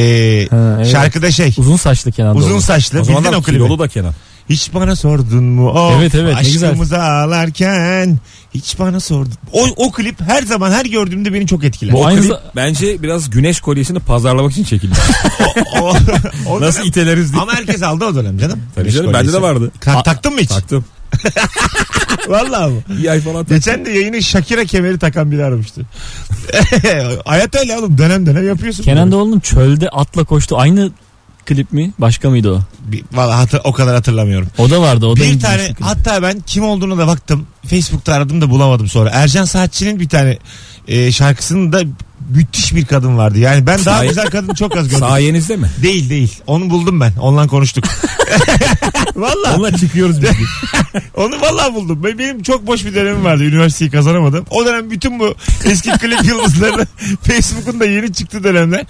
Speaker 3: Ha, evet.
Speaker 2: Şarkıda şey.
Speaker 3: Uzun saçlı Kenan
Speaker 2: Uzun
Speaker 3: Doğulu.
Speaker 2: saçlı.
Speaker 4: O
Speaker 2: Bildin o
Speaker 4: zamanlar
Speaker 2: klibi.
Speaker 4: kilolu da Kenan.
Speaker 2: Hiç bana sordun mu? Of,
Speaker 3: Evet, evet, ne güzel.
Speaker 2: Aşkımızı ağlarken hiç bana sordun. O, o klip her zaman her gördüğümde beni çok etkiler.
Speaker 3: Bu
Speaker 4: O
Speaker 3: aynı
Speaker 4: klip
Speaker 3: za-
Speaker 4: bence biraz güneş kolyesini pazarlamak için çekilmiş.
Speaker 2: O- o-
Speaker 4: Nasıl iteleriz diye.
Speaker 2: ama herkes aldı o dönem canım.
Speaker 4: Tabii canım, bende de vardı.
Speaker 2: Ta-
Speaker 4: A-
Speaker 2: taktın mı hiç?
Speaker 4: Taktım.
Speaker 2: Vallahi mı?
Speaker 4: Bir ay falan taktım.
Speaker 2: Geçen de yayını Shakira kemeri takan biri aramıştı. Hayat öyle oğlum dönem dönem yapıyorsun.
Speaker 3: Kenan Doğulu'nun çölde atla koştu. Aynı klip mi? Başka mıydı o?
Speaker 2: Bir- Vallahi hatır- o kadar hatırlamıyorum.
Speaker 3: O da vardı. O da
Speaker 2: bir
Speaker 3: ilginç
Speaker 2: tane
Speaker 3: klip.
Speaker 2: hatta ben kim olduğuna da baktım. Facebook'ta aradım da bulamadım sonra. Ercan Saatçı'nın bir tane e, şarkısında müthiş bir kadın vardı. Yani ben daha
Speaker 4: Sahi-
Speaker 2: güzel kadın çok az gördüm.
Speaker 4: Sayenizde mi?
Speaker 2: Değil değil. Onu buldum ben. Ondan konuştuk. Valla.
Speaker 4: Onunla çıkıyoruz biz.
Speaker 2: Onu vallahi buldum. Ben- Benim çok boş bir dönemim vardı. Üniversiteyi kazanamadım. O dönem bütün bu eski klip yıldızları Facebook'un da yeni çıktı dönemler.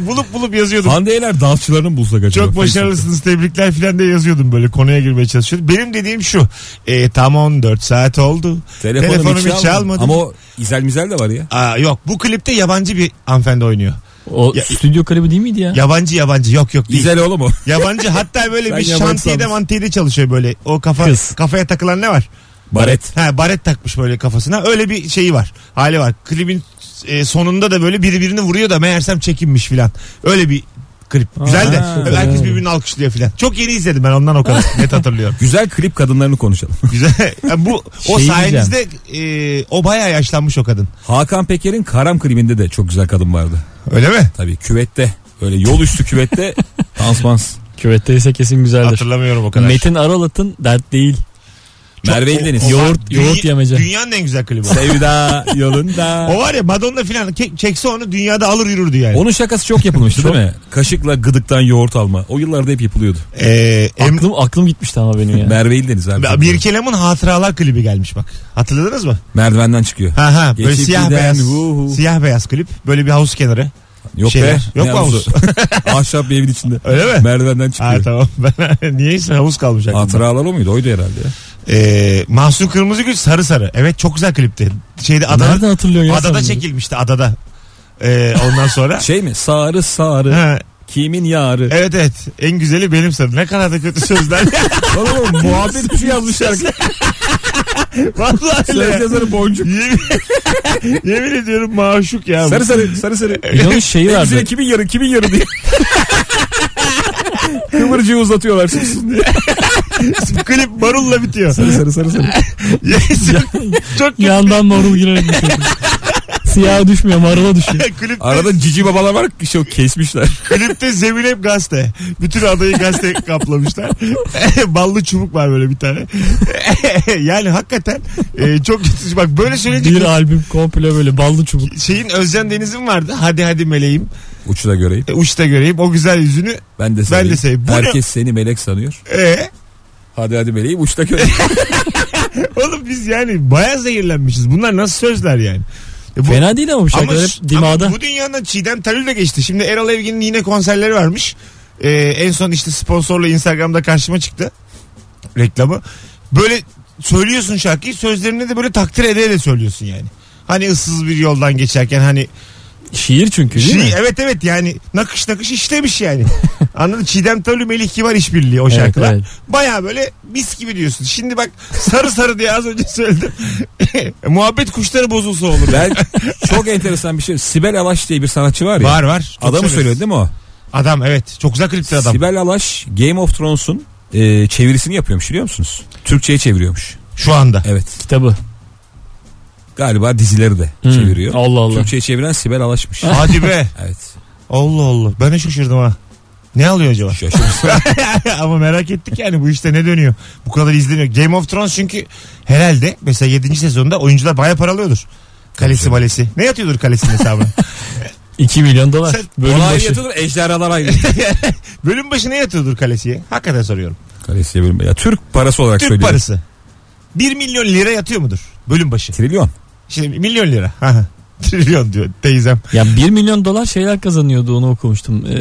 Speaker 2: bulup bulup yazıyordum.
Speaker 4: Hande Yener dansçılarını bulsak acaba.
Speaker 2: Çok başarılısınız tebrikler filan diye yazıyordum böyle konuya girmeye çalışıyordum. Benim dediğim şu e, tam 14 saat oldu.
Speaker 4: Telefonum,
Speaker 2: Telefonum
Speaker 4: hiç
Speaker 2: hiç
Speaker 4: çalmadı.
Speaker 2: çalmadı.
Speaker 4: Ama o İzel Mizel de var ya.
Speaker 2: Aa, yok bu klipte yabancı bir hanımefendi oynuyor.
Speaker 3: O
Speaker 2: Ya-
Speaker 3: stüdyo klibi değil miydi ya?
Speaker 2: Yabancı yabancı yok yok değil.
Speaker 4: İzel oğlum o.
Speaker 2: Yabancı hatta böyle
Speaker 4: Sen
Speaker 2: bir
Speaker 4: yabancı
Speaker 2: şantiyede
Speaker 4: sanmışsın.
Speaker 2: mantiyede çalışıyor böyle. O kafa
Speaker 3: Kız.
Speaker 2: kafaya takılan ne var?
Speaker 4: Baret.
Speaker 2: Ha baret takmış böyle kafasına. Öyle bir şeyi var. Hali var. Klibin e, sonunda da böyle biri birini vuruyor da meğersem çekinmiş filan. Öyle bir klip. Güzel de.
Speaker 3: süper.
Speaker 2: Herkes birbirini alkışlıyor filan. Çok yeni izledim ben ondan o kadar net hatırlıyorum.
Speaker 4: Güzel klip kadınlarını konuşalım.
Speaker 2: Güzel. Yani bu o
Speaker 3: Şey
Speaker 2: sayenizde e, o bayağı yaşlanmış o kadın.
Speaker 4: Hakan Peker'in Karam klibinde de çok güzel kadın vardı.
Speaker 2: Öyle mi?
Speaker 4: Tabii küvette. Öyle yol üstü küvette dansmans.
Speaker 3: Küvetteyse kesin güzeldir.
Speaker 2: Hatırlamıyorum o kadar.
Speaker 3: Metin Aralat'ın dert değil.
Speaker 2: Çok-
Speaker 4: Merve İldeniz.
Speaker 2: o- o-
Speaker 3: Yoğurt-
Speaker 2: Dünya-
Speaker 3: yoğurt yemece.
Speaker 2: Dünyanın en güzel klibi. o.
Speaker 4: Sevda yolunda.
Speaker 2: O var ya Madonna filan ke- çekse onu dünyada alır yürürdü yani.
Speaker 4: Onun şakası çok yapılmıştı değil mi? Kaşıkla gıdıktan yoğurt alma. O yıllarda hep yapılıyordu.
Speaker 2: Ee, em-
Speaker 3: Aklım aklım gitmişti ama benim ya.
Speaker 4: Merve İldeniz abi.
Speaker 2: bir kelamın hatıralar klibi gelmiş bak. Hatırladınız mı?
Speaker 4: Merdivenden çıkıyor.
Speaker 2: Ha ha böyle
Speaker 4: Geçip
Speaker 2: siyah
Speaker 4: giden,
Speaker 2: beyaz.
Speaker 4: vuhu.
Speaker 2: Siyah beyaz klip. Böyle bir havuz kenarı.
Speaker 4: Yok
Speaker 2: şeyler.
Speaker 4: be.
Speaker 2: Yok
Speaker 4: ne
Speaker 2: mu
Speaker 4: havuzu? Ahşap bir evin içinde.
Speaker 2: Öyle mi? Ha
Speaker 4: Merdivenden çıkıyor.
Speaker 2: tamam. Ben niyeyse havuz kalmış aklımda.
Speaker 4: Hatıralar o muydu? Oydu herhalde ya.
Speaker 2: Ee, Mahsun Kırmızıgül sarı sarı. Evet çok güzel klipti. Şeyde
Speaker 3: Nereden
Speaker 2: adada,
Speaker 3: hatırlıyorsun ya? sen
Speaker 2: adada
Speaker 3: bunu?
Speaker 2: çekilmişti adada. Ee, ondan sonra.
Speaker 4: Şey mi? Sarı sarı.
Speaker 2: Ha,
Speaker 4: Kimin yarı?
Speaker 2: evet evet en güzeli benim sarı. Ne kadar da kötü sözler.
Speaker 4: Oğlum muhabbet kuşu yazmış şarkı.
Speaker 2: Vallahi
Speaker 4: Söz
Speaker 2: öyle.
Speaker 4: yazarı boncuk.
Speaker 2: yemin, yemin ediyorum maşuk ya. bu.
Speaker 4: Sarı sarı sarı sarı.
Speaker 3: Bir de onun şeyi vardı.
Speaker 4: Hepsine E, kimin yarı kimin yarı diye. Kıvırcığı uzatıyorlar sussun diye.
Speaker 2: Klip marulla bitiyor.
Speaker 4: Sarı sarı sarı sarı.
Speaker 2: çok kötü.
Speaker 3: Yandan marul girerek düşüyor. Siyah düşmüyor marula düşüyor.
Speaker 2: klipte,
Speaker 4: Arada cici babalar var ki şey kesmişler.
Speaker 2: klipte zemin hep gazete. Bütün adayı gazete kaplamışlar. Ballı çubuk var böyle bir tane. yani hakikaten e, çok kötü. Bak böyle söyleyince
Speaker 3: Bir albüm komple böyle ballı çubuk.
Speaker 2: şeyin Özcan Deniz'in vardı. Hadi hadi meleğim.
Speaker 4: Uçu da göreyim.
Speaker 2: E, uçta göreyim. O güzel yüzünü.
Speaker 4: Ben de seveyim.
Speaker 2: Ben de seveyim. Bu
Speaker 4: Herkes seni melek sanıyor.
Speaker 2: E,
Speaker 4: Hadi hadi meleğim uçta göreyim.
Speaker 2: oğlum biz yani baya zehirlenmişiz. Bunlar nasıl sözler yani? E, bu-
Speaker 3: Fena değil ama bu
Speaker 2: Ama,
Speaker 3: şarkılar
Speaker 2: şu-
Speaker 3: hep dimağda.
Speaker 2: ama bu dünyadan Çiğdem Talül de geçti. Şimdi Erol Evgin'in yine konserleri varmış. Ee, en son işte sponsorla Instagram'da karşıma çıktı. Reklamı. Böyle söylüyorsun şarkıyı sözlerini de böyle takdir ede de söylüyorsun yani. Hani ıssız bir yoldan geçerken hani
Speaker 3: Şiir çünkü değil mi?
Speaker 2: Şi- evet evet yani nakış nakış işlemiş yani. Anladın mı? Çiğdem Talü Melih Kibar işbirliği o
Speaker 3: Evet,
Speaker 2: şarkılar.
Speaker 3: evet.
Speaker 2: Baya böyle mis gibi diyorsun. Şimdi bak sarı sarı diye az önce söyledim. Muhabbet kuşları bozulsa olur.
Speaker 4: ben çok enteresan bir şey. Sibel Alaş diye bir sanatçı var ya.
Speaker 2: Var var. Çok
Speaker 4: Adamı
Speaker 2: severiz.
Speaker 4: söylüyor değil mi o?
Speaker 2: Adam evet. Çok güzel klipti adam.
Speaker 4: Sibel Alaş Game of Thrones'un e, çevirisini yapıyormuş biliyor musunuz? Türkçe'ye çeviriyormuş.
Speaker 2: Şu anda.
Speaker 4: Evet.
Speaker 3: Kitabı.
Speaker 4: Galiba dizileri de
Speaker 3: Hmm.
Speaker 4: çeviriyor.
Speaker 3: Allah Allah.
Speaker 4: Türkçe'ye çeviren Sibel Alaş'mış.
Speaker 2: Hadi be.
Speaker 4: evet.
Speaker 2: Allah Allah. Ben de şaşırdım ha. Ne alıyor acaba?
Speaker 4: Şaşırmışsın.
Speaker 2: Ama merak ettik yani bu işte ne dönüyor? Bu kadar izleniyor. Game of Thrones çünkü herhalde mesela 7. sezonda oyuncular bayağı para alıyordur. Kalesi
Speaker 4: Tabii.
Speaker 2: malesi. Ne yatıyordur kalesinin hesabına?
Speaker 3: 2 milyon dolar.
Speaker 2: Sen-
Speaker 3: Bölüm
Speaker 4: Ona ayrı
Speaker 3: başı.
Speaker 4: yatılır ejderhalar ayrı.
Speaker 2: Bölüm başı ne yatıyordur kalesiye? Hakikaten soruyorum.
Speaker 4: Kalesiye bölüm. Ya Türk parası olarak
Speaker 2: Türk
Speaker 4: söylüyorum.
Speaker 2: parası. 1 milyon lira yatıyor mudur bölüm başı?
Speaker 4: Trilyon.
Speaker 2: Şimdi milyon lira. Aha. Trilyon diyor teyzem.
Speaker 3: Ya 1 milyon dolar şeyler kazanıyordu onu okumuştum. Ee,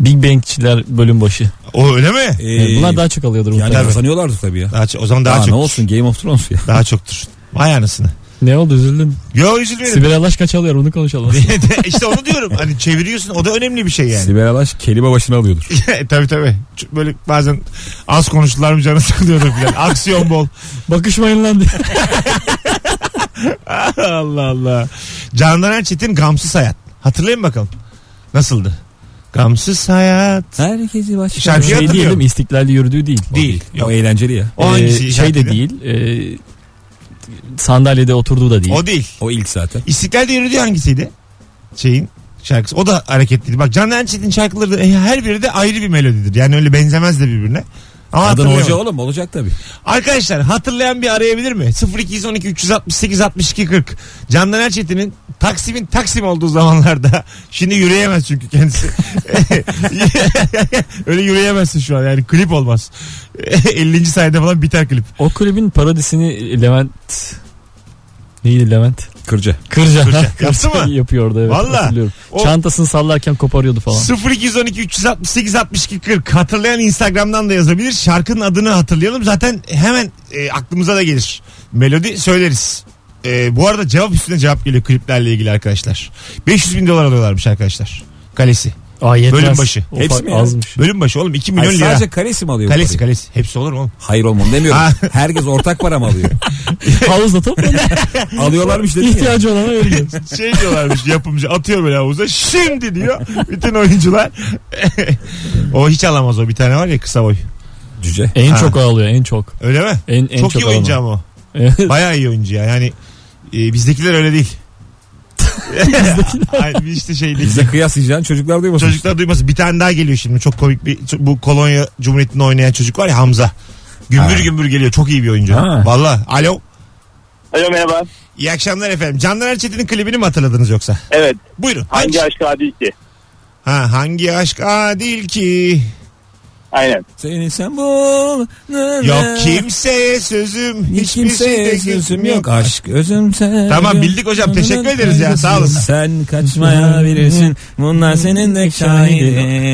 Speaker 3: Big Bang'çiler bölüm başı.
Speaker 2: O öyle mi?
Speaker 4: Ee,
Speaker 3: Bunlar daha çok alıyordur
Speaker 4: yani
Speaker 3: muhtemelen.
Speaker 4: kazanıyorlardı tabii ya.
Speaker 2: Daha, ço- o zaman E, daha
Speaker 4: Aa, ne
Speaker 2: çok.
Speaker 4: olsun Game of Thrones ya.
Speaker 2: Daha çoktur. Vay anasını.
Speaker 3: Ne oldu üzüldün?
Speaker 2: Yo üzülmeyelim.
Speaker 3: Sibel Alaş kaç alıyor onu konuşalım.
Speaker 2: işte onu diyorum. Hani çeviriyorsun o da önemli bir şey yani. E,
Speaker 4: Sibel Alaş kelime başına alıyordur.
Speaker 2: tabii tabii. Ç- Böyle bazen az konuştular mı canı sıkılıyordu filan. Aksiyon bol.
Speaker 3: Bakışmayın lan diye.
Speaker 2: Allah Allah. Candan Erçetin Gamsız Hayat. Hatırlayın bakalım. Nasıldı? Gamsız Hayat.
Speaker 4: Herkesi başka.
Speaker 2: Şarkı
Speaker 4: Şarkı
Speaker 3: Şey
Speaker 2: hatırlıyorum.
Speaker 3: değil mi? İstiklal'de yürüdüğü değil.
Speaker 2: Değil.
Speaker 4: O eğlenceli ya.
Speaker 2: O
Speaker 3: Ee,
Speaker 2: hangisi
Speaker 3: şey de
Speaker 2: şarkıydı?
Speaker 3: değil. ee, sandalyede oturduğu da değil.
Speaker 2: O değil.
Speaker 4: O ilk zaten.
Speaker 2: İstiklal'de yürüdüğü hangisiydi? Şeyin. şarkısı. O da hareketliydi. Bak Can Erçetin şarkıları da- e, her biri de ayrı bir melodidir. Yani öyle benzemez de birbirine. Ama
Speaker 4: Kadın
Speaker 2: hatırlayamadım.
Speaker 4: hoca oğlum olacak tabii.
Speaker 2: Arkadaşlar hatırlayan bir arayabilir mi? 0212 368 62 40. Candan Erçetin'in Taksim'in Taksim olduğu zamanlarda şimdi yürüyemez çünkü kendisi. Öyle yürüyemezsin şu an yani klip olmaz. 50. sayede falan biter klip.
Speaker 3: O klibin parodisini Levent neydi Levent?
Speaker 4: Kırca.
Speaker 3: Kırca.
Speaker 2: Kırca.
Speaker 3: Kırca
Speaker 2: Yaptı mı?
Speaker 3: Yapıyordu evet.
Speaker 2: Valla.
Speaker 3: hatırlıyorum.
Speaker 2: O-
Speaker 3: Çantasını sallarken koparıyordu falan.
Speaker 2: 0212 368 62 40 hatırlayan Instagram'dan da yazabilir. Şarkının adını hatırlayalım. Zaten hemen e, aklımıza da gelir. Melodi söyleriz. E, bu arada cevap üstüne cevap geliyor kliplerle ilgili arkadaşlar. 500 bin dolar alıyorlarmış arkadaşlar. Kalesi.
Speaker 3: Aa, yetmez.
Speaker 2: Bölüm başı.
Speaker 3: O
Speaker 4: Hepsi
Speaker 3: fark
Speaker 4: mi ya?
Speaker 3: azmış.
Speaker 2: Bölüm başı oğlum 2 milyon
Speaker 4: Hayır,
Speaker 2: lira.
Speaker 4: sadece kalesi mi alıyor? bu
Speaker 2: Kalesi
Speaker 4: parayı?
Speaker 2: kalesi. Hepsi olur mu oğlum?
Speaker 4: Hayır olmam demiyorum. Herkes ortak para mı alıyor?
Speaker 3: Havuzda toplanıyor.
Speaker 4: Alıyorlarmış dedin ya.
Speaker 3: İhtiyacı olana veriyor.
Speaker 2: şey diyorlarmış yapımcı atıyor böyle havuza şimdi diyor bütün oyuncular o hiç alamaz o bir tane var ya kısa boy
Speaker 4: Cüce.
Speaker 3: En
Speaker 2: Ha.
Speaker 3: çok ağlıyor en çok.
Speaker 2: öyle mi?
Speaker 3: En, en
Speaker 2: çok, iyi
Speaker 3: ağlanan.
Speaker 2: oyuncu ama o.
Speaker 3: Evet.
Speaker 2: Bayağı iyi oyuncu ya. Yani e, bizdekiler öyle değil. Ay, bir işte şey değil.
Speaker 4: Bize kıyaslayacağın çocuklar duymasın.
Speaker 2: Çocuklar duymasın. Bir tane daha geliyor şimdi. Çok komik bir ço- bu Kolonya Cumhuriyeti'nde oynayan çocuk var ya Hamza. Gümbür
Speaker 4: Ha.
Speaker 2: gümbür geliyor. Çok iyi bir oyuncu.
Speaker 4: Ha.
Speaker 2: Valla. Alo.
Speaker 5: Alo merhaba.
Speaker 2: İyi akşamlar efendim. Candan Erçetin'in klibini mi hatırladınız yoksa?
Speaker 5: Evet.
Speaker 2: Buyurun.
Speaker 5: Hangi aşk adi ki?
Speaker 2: Ha, hangi aşk adil ki?
Speaker 5: Aynen.
Speaker 4: Seni sen bul.
Speaker 2: Yok kimseye sözüm.
Speaker 4: Hiç
Speaker 2: Hiçbir
Speaker 4: kimseye
Speaker 2: şeyde
Speaker 4: sözüm yok. Aşk özüm sen.
Speaker 2: Tamam, bildik hocam. Teşekkür ederiz ya. Sağ olasın.
Speaker 4: Sen kaçmayabilirsin. Bunlar senin de şahidi.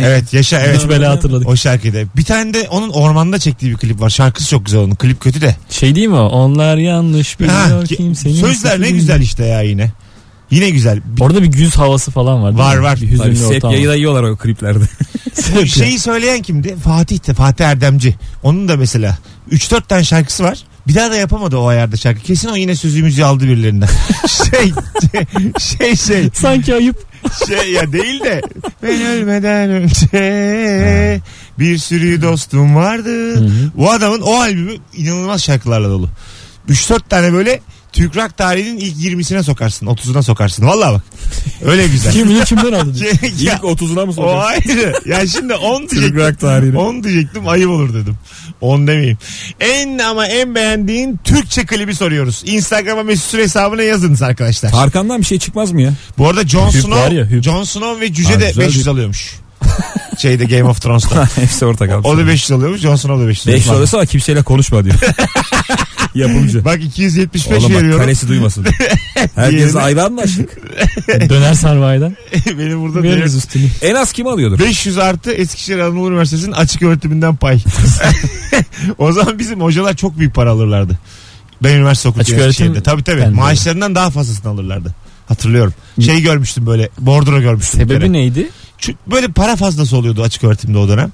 Speaker 2: Evet yaşa evet.
Speaker 3: Üç bela hatırladık.
Speaker 2: O şarkıda. Bir tane de onun ormanda çektiği bir klip var. Şarkısı çok güzel onun. Klip kötü de.
Speaker 3: Şey değil mi o? Onlar yanlış
Speaker 2: Ha,
Speaker 3: biliyor
Speaker 2: ki-
Speaker 3: kimsenin.
Speaker 2: sözler ne
Speaker 3: fikrini.
Speaker 2: güzel işte ya yine. Yine güzel. Bir-
Speaker 3: Orada bir güz havası falan var. değil
Speaker 2: Var,
Speaker 3: mi?
Speaker 2: var.
Speaker 3: Bir hüzünlü
Speaker 4: Tabii
Speaker 3: ortam.
Speaker 4: sepyayı da yiyorlar o kliplerde.
Speaker 2: Bu şeyi söyleyen kimdi? Fatih de Fatih Erdemci. Onun da mesela 3-4 tane şarkısı var. Bir daha da yapamadı o ayarda şarkı. Kesin o yine sözümüzü aldı birilerinden. şey, şey şey
Speaker 3: Sanki ayıp.
Speaker 2: şey ya değil de ben ölmeden önce bir sürü dostum vardı. Bu adamın o albümü inanılmaz şarkılarla dolu. 3-4 tane böyle Türk rock tarihinin ilk 20'sine sokarsın, 30'una sokarsın. Vallahi bak. Öyle güzel.
Speaker 3: Kim bilir kimden aldı diye.
Speaker 2: Şey, ya,
Speaker 4: 30'una mı
Speaker 2: o ayrı. Ya şimdi 10
Speaker 4: Türk
Speaker 2: diyecektim.
Speaker 4: rock tarihini.
Speaker 2: 10 diyecektim ayıp olur dedim. 10 demeyeyim. En ama en beğendiğin Türkçe klibi soruyoruz. Instagram'a mesut süre hesabına yazınız arkadaşlar.
Speaker 4: Tarkan'dan bir şey çıkmaz mı ya?
Speaker 2: Bu arada Jon
Speaker 3: Hüp var
Speaker 2: Snow,
Speaker 3: ya, hüp.
Speaker 2: Jon Snow ve Cüce
Speaker 4: Ha,
Speaker 2: de
Speaker 4: güzel
Speaker 2: 500
Speaker 4: bir-
Speaker 2: alıyormuş. Şeyde Game of Thrones'ta.
Speaker 4: Hepsi ortak abi.
Speaker 2: O da 500 alıyormuş, Jon Snow da 500
Speaker 4: 5
Speaker 2: alıyormuş.
Speaker 4: sonrası ama kimseyle konuşma diyor. Yapımcı.
Speaker 2: Bak 275
Speaker 4: Oğlum bak
Speaker 2: veriyorum.
Speaker 4: kalesi duymasın. Herkes
Speaker 2: Diğerine-
Speaker 4: ayranlaştık.
Speaker 3: Döner sarmaydan.
Speaker 2: Benim burada
Speaker 3: Veririz
Speaker 2: dönüyorum.
Speaker 3: üstünü.
Speaker 4: En az kim alıyordur?
Speaker 2: 500 artı Eskişehir Anadolu Üniversitesi'nin açık öğretiminden pay. o zaman bizim hocalar çok büyük para alırlardı. Ben üniversite
Speaker 3: Açık
Speaker 2: okurken
Speaker 3: öğretim-
Speaker 2: Eskişehir'de. Tabii tabii.
Speaker 3: Ben de.
Speaker 2: Maaşlarından daha fazlasını alırlardı. Hatırlıyorum. Şey görmüştüm böyle bordro görmüştüm. bir kere.
Speaker 3: Sebebi neydi?
Speaker 2: Çünkü böyle para fazlası oluyordu açık öğretimde o dönem.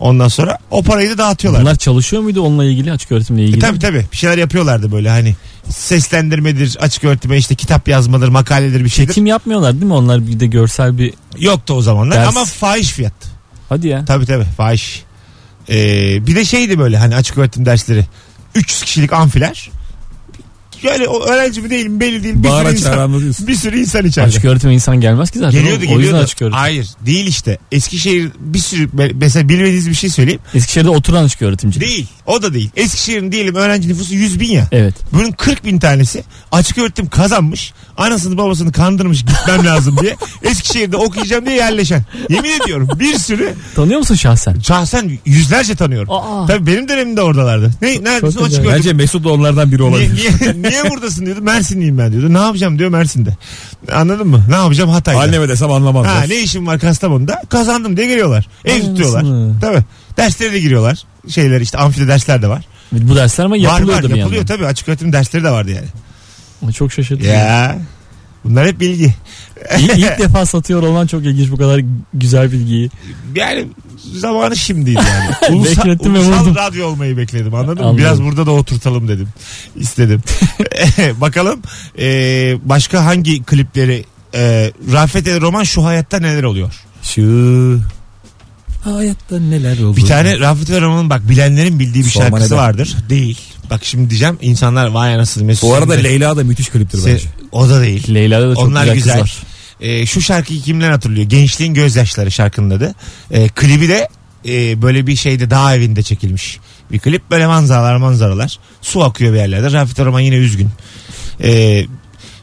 Speaker 2: Ondan sonra o parayı da dağıtıyorlar.
Speaker 3: Bunlar çalışıyor muydu onunla ilgili açık öğretimle
Speaker 2: E
Speaker 3: ilgili?
Speaker 2: tabi tabi bir şeyler yapıyorlardı böyle hani seslendirmedir, açık öğretime işte kitap yazmadır, makaledir bir şeydir.
Speaker 3: Çekim yapmıyorlar değil mi? Onlar bir de görsel bir...
Speaker 2: Yoktu o zamanlar
Speaker 3: Ders.
Speaker 2: ama fahiş fiyat.
Speaker 3: Hadi ya.
Speaker 2: Tabi tabi fahiş. Ee, bir de şeydi böyle hani açık öğretim dersleri 300 kişilik amfiler. Yani o öğrenci mi değil mi belli değil bir
Speaker 4: Bağıra
Speaker 2: sürü insan,
Speaker 4: çağıra anlatıyorsun.
Speaker 2: bir sürü insan içeride.
Speaker 3: Açık öğretime insan gelmez ki zaten.
Speaker 2: Geliyordu
Speaker 3: O
Speaker 2: geliyordu.
Speaker 3: yüzden açık öğretim.
Speaker 2: Hayır değil işte. Eskişehir bir sürü mesela bilmediğiniz bir şey söyleyeyim.
Speaker 3: Eskişehir'de oturan açık öğretimci.
Speaker 2: Değil. O da değil. Eskişehir'in diyelim öğrenci nüfusu 100 bin ya.
Speaker 3: Evet.
Speaker 2: Bunun 40 bin tanesi açık öğretim kazanmış. Anasını babasını kandırmış gitmem lazım diye. Eskişehir'de okuyacağım diye yerleşen. Yemin ediyorum bir sürü
Speaker 3: Tanıyor musun şahsen?
Speaker 2: şahsen yüzlerce tanıyorum.
Speaker 3: Aa.
Speaker 2: Tabii benim dönemimde oradalardı. Ne, neredesin
Speaker 3: çok
Speaker 2: açık öğretim?
Speaker 4: Bence Mesut da onlardan biri
Speaker 2: Niye,
Speaker 4: olabilir.
Speaker 2: niye, niye buradasın diyordu. Mersinliyim ben diyordu. Ne yapacağım diyor Mersin'de. Anladın mı? Ne yapacağım Hatay'da.
Speaker 4: Anneme desem
Speaker 2: Ha,
Speaker 4: anlamazlar.
Speaker 2: ne işim var Kastamonu'da? Kazandım diye geliyorlar. Ev
Speaker 3: Ay,
Speaker 2: tutuyorlar.
Speaker 3: anasını.
Speaker 2: Tabii. Derslere de giriyorlar. Şeyler işte amfide dersler de var.
Speaker 3: Bu dersler ama yapılıyordu
Speaker 2: var var
Speaker 3: bir
Speaker 2: yapılıyor
Speaker 3: yandan.
Speaker 2: tabii. Açık öğretim dersleri de vardı yani.
Speaker 3: Ama Çok şaşırtıcı.
Speaker 2: Ya. Bunlar hep bilgi.
Speaker 3: İlk, ilk defa satıyor olman çok ilginç bu kadar güzel bilgiyi.
Speaker 2: Yani zamanı şimdiydi yani. Ulusa,
Speaker 3: Beklettim ve
Speaker 2: ulusal
Speaker 3: vurdum.
Speaker 2: radyo olmayı bekledim anladın mı?
Speaker 3: Anladım.
Speaker 2: Biraz burada da oturtalım dedim. İstedim. Bakalım e, başka hangi klipleri e, Rafet El Roman şu hayatta neler oluyor?
Speaker 4: Şu hayatta neler oldu?
Speaker 2: Bir tane Rafet El Roman'ın bak bilenlerin bildiği bir
Speaker 4: Sorma
Speaker 2: şarkısı
Speaker 4: neden?
Speaker 2: vardır. Değil. Bak şimdi diyeceğim insanlar vay anasını Mesut.
Speaker 4: Bu arada
Speaker 2: Sen-
Speaker 4: Leyla da müthiş kliptir
Speaker 2: Se-
Speaker 4: bence.
Speaker 2: O da değil.
Speaker 3: Leyla'da da çok
Speaker 2: Onlar
Speaker 3: güzel,
Speaker 2: güzel.
Speaker 3: kızlar.
Speaker 2: E, şu şarkıyı kimler hatırlıyor? Gençliğin Gözyaşları şarkının adı. E, klibi de e, böyle bir şeyde dağ evinde çekilmiş. Bir klip böyle manzaralar manzaralar. Su akıyor bir yerlerde. Rafet Arman yine üzgün. E,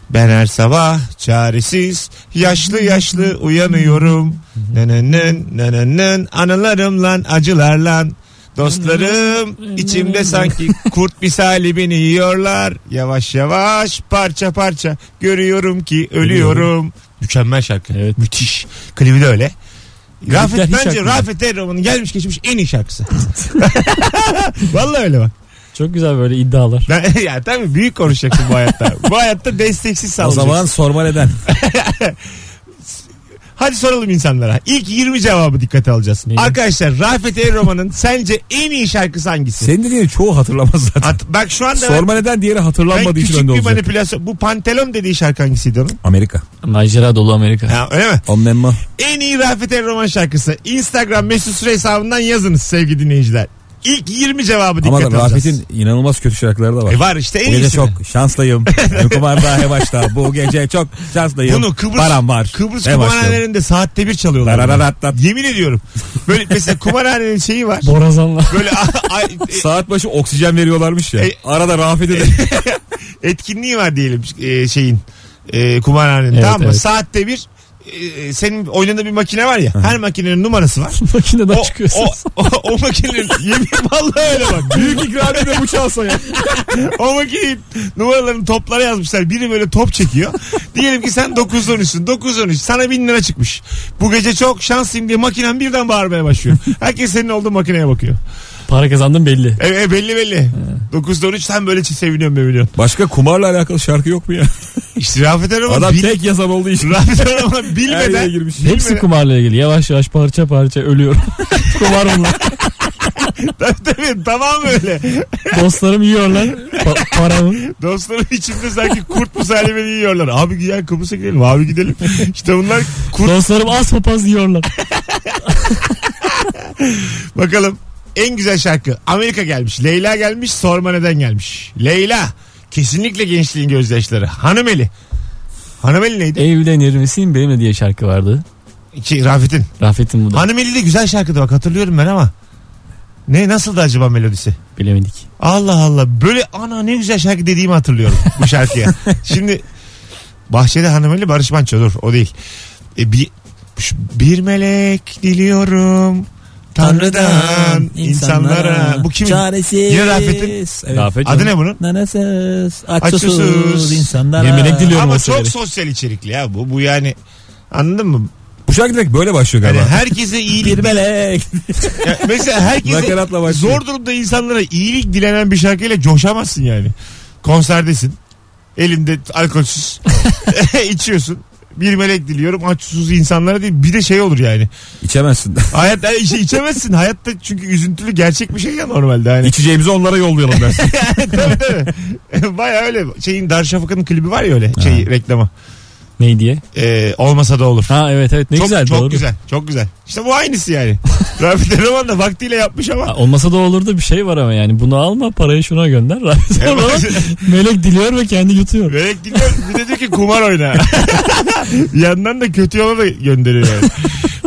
Speaker 2: ben her sabah çaresiz yaşlı yaşlı uyanıyorum. Nenenen nenenen anılarımla acılarla Dostlarım içimde sanki kurt misali beni yiyorlar. Yavaş yavaş parça parça görüyorum ki ölüyorum. Mükemmel şarkı.
Speaker 3: Evet.
Speaker 2: Müthiş. Klibi de öyle. Rafet
Speaker 3: hiç
Speaker 2: bence
Speaker 3: aklımda.
Speaker 2: Rafet Erroman'ın gelmiş geçmiş en iyi şarkısı. Vallahi öyle bak.
Speaker 3: Çok güzel böyle iddialar.
Speaker 2: Ben, ya tabii büyük konuşacaksın bu hayatta. bu hayatta desteksiz
Speaker 4: O
Speaker 2: sallayacaksın.
Speaker 4: zaman sorma neden.
Speaker 2: Hadi soralım insanlara. İlk 20 cevabı dikkate alacağız.
Speaker 3: Neyi?
Speaker 2: Arkadaşlar Rafet Erroman'ın sence en iyi şarkısı hangisi?
Speaker 4: Senin dediğini çoğu hatırlamaz zaten.
Speaker 2: At, bak şu anda ben-
Speaker 4: Sorma neden diğeri
Speaker 2: Ben
Speaker 4: hatırlanmadığı için
Speaker 2: küçük
Speaker 4: önde
Speaker 2: bir
Speaker 4: olacak.
Speaker 2: manipülasyon. Bu Pantelon dediği şarkı hangisiydi onun?
Speaker 4: Amerika.
Speaker 3: Macera dolu Amerika.
Speaker 2: Ha, öyle mi?
Speaker 4: Onlenma.
Speaker 2: En iyi Rafet El Roman şarkısı. Instagram mesut süre hesabından yazınız sevgili dinleyiciler. İlk 20 cevabı
Speaker 4: Ama
Speaker 2: dikkat alacağız.
Speaker 4: Rafet'in inanılmaz kötü şarkıları da var.
Speaker 2: E var işte
Speaker 4: Bu
Speaker 2: en
Speaker 4: gece
Speaker 2: iyisi.
Speaker 4: çok şanslıyım. Kumar daha başta. Bu gece çok şanslıyım.
Speaker 2: Bunu Kıbrıs,
Speaker 4: Param var.
Speaker 2: Kıbrıs
Speaker 4: Ve başlıyorum.
Speaker 2: kumarhanelerinde saatte bir çalıyorlar.
Speaker 4: Dararararat.
Speaker 2: Yemin ediyorum. Böyle mesela kumarhanenin şeyi var.
Speaker 3: Borazanla.
Speaker 2: Böyle a- a- e-
Speaker 4: Saat başı oksijen veriyorlarmış ya.
Speaker 2: E-
Speaker 4: Arada Rafet'e de.
Speaker 2: etkinliği var diyelim e, şeyin e, kumarhanenin
Speaker 3: Evet,
Speaker 2: tamam mı?
Speaker 3: evet.
Speaker 2: Saatte bir e, senin oynadığın bir makine var ya. Her makinenin numarası var.
Speaker 3: Makineden
Speaker 2: o, o,
Speaker 3: çıkıyorsunuz.
Speaker 2: o, o makinenin yemin vallahi öyle bak.
Speaker 4: Büyük ikramiye de bu çalsa ya.
Speaker 2: O makineyi numaralarını toplara yazmışlar. Biri böyle top çekiyor. Diyelim ki sen 913'sün. 913 sana 1000 lira çıkmış. Bu gece çok şanslıyım diye makinen birden bağırmaya başlıyor. Herkes senin olduğun makineye bakıyor.
Speaker 3: Para kazandım belli.
Speaker 2: E, e, belli belli. 913 sen böyle seviniyorsun seviniyorsun.
Speaker 4: Başka kumarla alakalı şarkı yok mu ya?
Speaker 2: İşte Rafet Erman
Speaker 4: Adam
Speaker 2: bil,
Speaker 4: tek yazan olduğu için.
Speaker 2: Rafet Erman
Speaker 4: Her yere
Speaker 2: bilmeden
Speaker 4: girmiş.
Speaker 3: Hepsi
Speaker 2: Bilmeden-
Speaker 3: kumarla ilgili. Yavaş yavaş parça parça ölüyorum. Kumar bunlar.
Speaker 2: tabii, tabii, tamam öyle.
Speaker 3: Dostlarım yiyorlar pa- paramı.
Speaker 2: Dostlarım içimde sanki kurt musallimeni yiyorlar. Abi gel Kıbrıs'a gidelim abi gidelim. İşte bunlar kurt
Speaker 3: Dostlarım az papaz yiyorlar.
Speaker 2: Bakalım en güzel şarkı Amerika gelmiş. Leyla gelmiş sorma neden gelmiş. Leyla kesinlikle gençliğin gözyaşları. Hanımeli. Hanımeli neydi?
Speaker 3: Evlenir misin benimle diye şarkı vardı.
Speaker 2: Ki, Rafet'in.
Speaker 3: Rafet'in bu da.
Speaker 2: Hanımeli de güzel şarkıdı bak hatırlıyorum ben ama. Ne nasıldı acaba melodisi?
Speaker 3: Bilemedik.
Speaker 2: Allah Allah böyle ana ne güzel şarkı dediğimi hatırlıyorum bu şarkıya. Şimdi Bahçede Hanımeli Barış Manço dur o değil. E, bir, şu- bir melek diliyorum Tanrı'dan insanlara. Bu kimin?
Speaker 6: Çaresiz.
Speaker 2: Yine Rafet'in.
Speaker 6: Evet.
Speaker 3: Rafet
Speaker 2: Adı ne bunun?
Speaker 6: Nanasız.
Speaker 2: Acısız.
Speaker 6: Acısız. insanlara.
Speaker 3: Yemin ediyorum. Biliyorum
Speaker 2: Ama
Speaker 3: o
Speaker 2: çok
Speaker 3: sebebi.
Speaker 2: sosyal içerikli ya bu. Bu yani anladın mı?
Speaker 4: Bu şarkı direkt böyle başlıyor
Speaker 2: Yani
Speaker 4: galiba.
Speaker 2: herkese iyilik.
Speaker 6: Bir melek.
Speaker 2: Ya mesela herkese
Speaker 4: Nakaratla başlıyor.
Speaker 2: zor durumda insanlara iyilik dilenen bir şarkıyla coşamazsın yani. Konserdesin. Elinde alkolsüz. içiyorsun. Bir melek diliyorum aç susuz insanlara değil. Bir de şey olur yani.
Speaker 4: İçemezsin.
Speaker 2: Hayatta içe, içemezsin. Hayatta çünkü üzüntülü gerçek bir şey ya normalde. Hani.
Speaker 4: İçeceğimizi onlara yollayalım dersin.
Speaker 2: tabii tabii. Baya öyle. Şeyin Darüşşafaka'nın klibi var ya öyle. Şey reklama.
Speaker 3: Ne diye?
Speaker 2: Ee, olmasa da olur.
Speaker 3: Ha evet evet ne
Speaker 2: çok,
Speaker 3: güzel
Speaker 2: çok
Speaker 3: doğru.
Speaker 2: güzel. Çok güzel. İşte bu aynısı yani. Rafet Erman da vaktiyle yapmış
Speaker 3: Ha,
Speaker 2: ama.
Speaker 3: Olmasa da olur da bir şey var ama yani bunu alma parayı şuna gönder. Rafet Erman melek diliyor ve kendi yutuyor.
Speaker 2: Börek dinliyor. Bir de diyor ki kumar oyna. bir yandan da kötü yola da gönderiyor yani.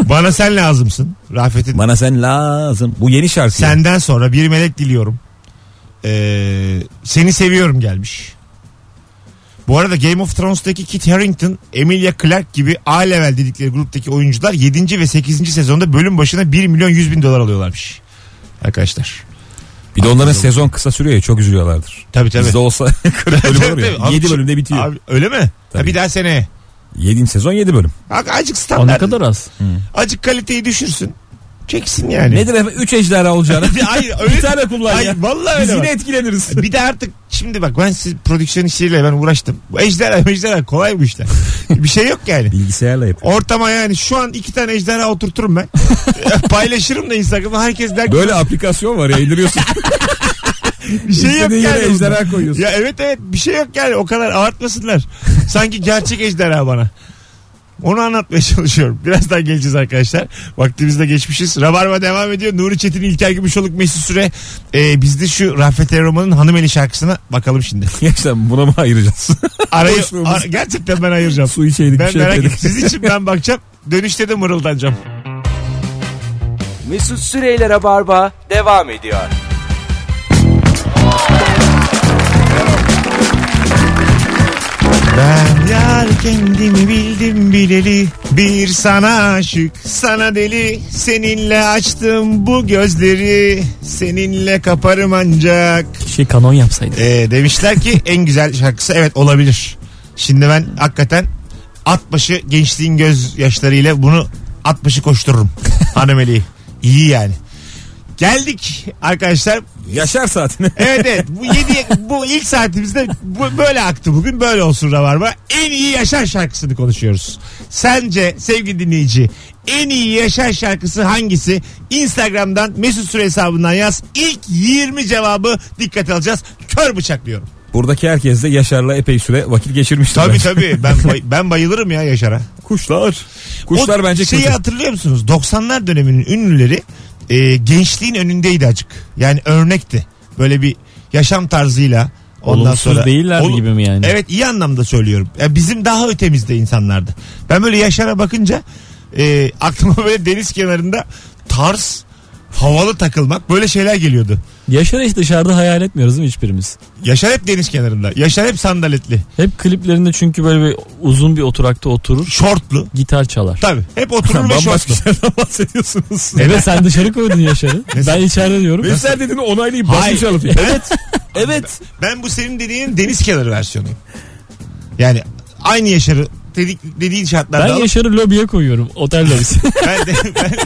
Speaker 2: Bana sen lazımsın. Rafet'in.
Speaker 4: Bana sen lazım. Bu yeni şarkı. Sen...
Speaker 2: Senden sonra bir melek diliyorum. Ee, seni seviyorum gelmiş. Bu arada Game of Thrones'taki Kit Harington, Emilia Clarke gibi A level dedikleri gruptaki oyuncular 7. ve 8. sezonda bölüm başına 1 milyon 100 bin dolar alıyorlarmış. Arkadaşlar.
Speaker 4: Bir de onların sezon kısa sürüyor ya çok üzülüyorlardır.
Speaker 2: Tabii tabii.
Speaker 4: Bizde olsa 40 bölüm olur
Speaker 2: Tabii, tabii.
Speaker 4: ya. 7 bölümde bitiyor.
Speaker 2: Abi, öyle mi?
Speaker 4: Tabii.
Speaker 2: Ha, bir daha seneye.
Speaker 4: 7. sezon 7 bölüm.
Speaker 2: Ak- Acık
Speaker 3: O ne
Speaker 2: standart.
Speaker 3: kadar az.
Speaker 2: Acık kaliteyi düşürsün. Çeksin yani.
Speaker 4: Nedir efendim 3 ejderha olacağını.
Speaker 2: Hayır öyle.
Speaker 4: bir tane kullan
Speaker 2: Hayır,
Speaker 4: ya.
Speaker 2: vallahi
Speaker 4: Biz
Speaker 2: öyle.
Speaker 4: yine
Speaker 2: bak.
Speaker 4: etkileniriz.
Speaker 2: Bir de artık şimdi bak ben siz prodüksiyon işleriyle ben uğraştım. Bu ejderha ejderha kolay bu işler. Bir şey yok yani.
Speaker 4: Bilgisayarla yap.
Speaker 2: Ortama yani şu an iki tane ejderha oturturum ben. Paylaşırım da Instagram'a herkes der ki
Speaker 4: Böyle aplikasyon var ya indiriyorsun.
Speaker 2: bir şey yok
Speaker 4: İstediğin
Speaker 2: yani.
Speaker 4: yere
Speaker 2: bunda.
Speaker 4: ejderha koyuyorsun.
Speaker 2: Ya evet evet bir şey yok yani o kadar ağırtmasınlar. Sanki gerçek ejderha bana. Onu anlatmaya çalışıyorum. Birazdan geleceğiz arkadaşlar. Vaktimizde geçmişiz. Rabarba devam ediyor. Nuri Çetin, İlker Gümüşoluk, Mesut Süre. Ee, biz de şu Rafet Erroman'ın Hanımeli şarkısına bakalım şimdi.
Speaker 4: Gerçekten buna mı ayıracağız?
Speaker 2: Arayı,
Speaker 4: Boşluğumuz.
Speaker 2: ar- gerçekten ben ayıracağım.
Speaker 4: Su içeydik bir
Speaker 2: ben
Speaker 4: şey
Speaker 2: merak
Speaker 4: yapaydık.
Speaker 2: ettim. Siz için ben bakacağım. Dönüşte de mırıldanacağım.
Speaker 1: Mesut Süreyler'e barba devam ediyor.
Speaker 2: Ben yar kendimi bildim bileli Bir sana aşık sana deli Seninle açtım bu gözleri Seninle kaparım ancak
Speaker 3: Şey kanon yapsaydı.
Speaker 2: Ee, Demişler ki en güzel şarkısı evet olabilir Şimdi ben hakikaten At başı gençliğin gözyaşlarıyla bunu at başı koştururum Hanımeli'yi iyi yani Geldik arkadaşlar
Speaker 4: Yaşar saatini.
Speaker 2: Evet evet. Bu, yedi, bu ilk saatimizde bu, böyle aktı bugün. Böyle olsun Rabarba. En iyi yaşar şarkısını konuşuyoruz. Sence sevgili dinleyici en iyi yaşar şarkısı hangisi? Instagram'dan Mesut Süre hesabından yaz. İlk 20 cevabı dikkate alacağız. Kör bıçaklıyorum.
Speaker 4: Buradaki herkes de Yaşar'la epey süre vakit geçirmiştir.
Speaker 2: Tabii
Speaker 4: bence.
Speaker 2: tabii. Ben, bay- ben bayılırım ya Yaşar'a.
Speaker 4: Kuşlar. Kuşlar
Speaker 2: O
Speaker 4: bence
Speaker 2: şeyi
Speaker 4: kötü.
Speaker 2: hatırlıyor musunuz? 90'lar döneminin ünlüleri e, gençliğin önündeydi acık. Yani örnekti. Böyle bir yaşam tarzıyla ondan
Speaker 3: Olumsuz
Speaker 2: sonra
Speaker 3: değiller
Speaker 2: Ol-
Speaker 3: gibi mi yani?
Speaker 2: Evet iyi anlamda söylüyorum. Ya bizim daha ötemizde insanlardı. Ben böyle Yaşar'a bakınca e, aklıma böyle deniz kenarında tarz, havalı takılmak böyle şeyler geliyordu.
Speaker 3: Yaşar'ı hiç dışarıda hayal etmiyoruz değil mi hiçbirimiz?
Speaker 2: Yaşar hep deniz kenarında. Yaşar hep sandaletli.
Speaker 3: Hep kliplerinde çünkü böyle bir uzun bir oturakta oturur.
Speaker 2: Şortlu.
Speaker 3: Gitar çalar.
Speaker 2: Tabii. Hep oturur ve
Speaker 4: Bambaşka
Speaker 2: şortlu.
Speaker 4: şeylerden bahsediyorsunuz.
Speaker 3: Evet sen dışarı koydun Yaşar'ı. ben içeride diyorum.
Speaker 4: Mesler dediğini onaylayıp
Speaker 2: Hayır.
Speaker 4: basmış alıp.
Speaker 2: Evet.
Speaker 4: Evet.
Speaker 2: Ben bu senin dediğin deniz kenarı versiyonuyum. Yani aynı Yaşar'ı dedik, dediğin şartlarda
Speaker 3: Ben
Speaker 2: alıp-
Speaker 3: Yaşar'ı lobiye koyuyorum. Otel lobisi.
Speaker 2: ben, de- ben,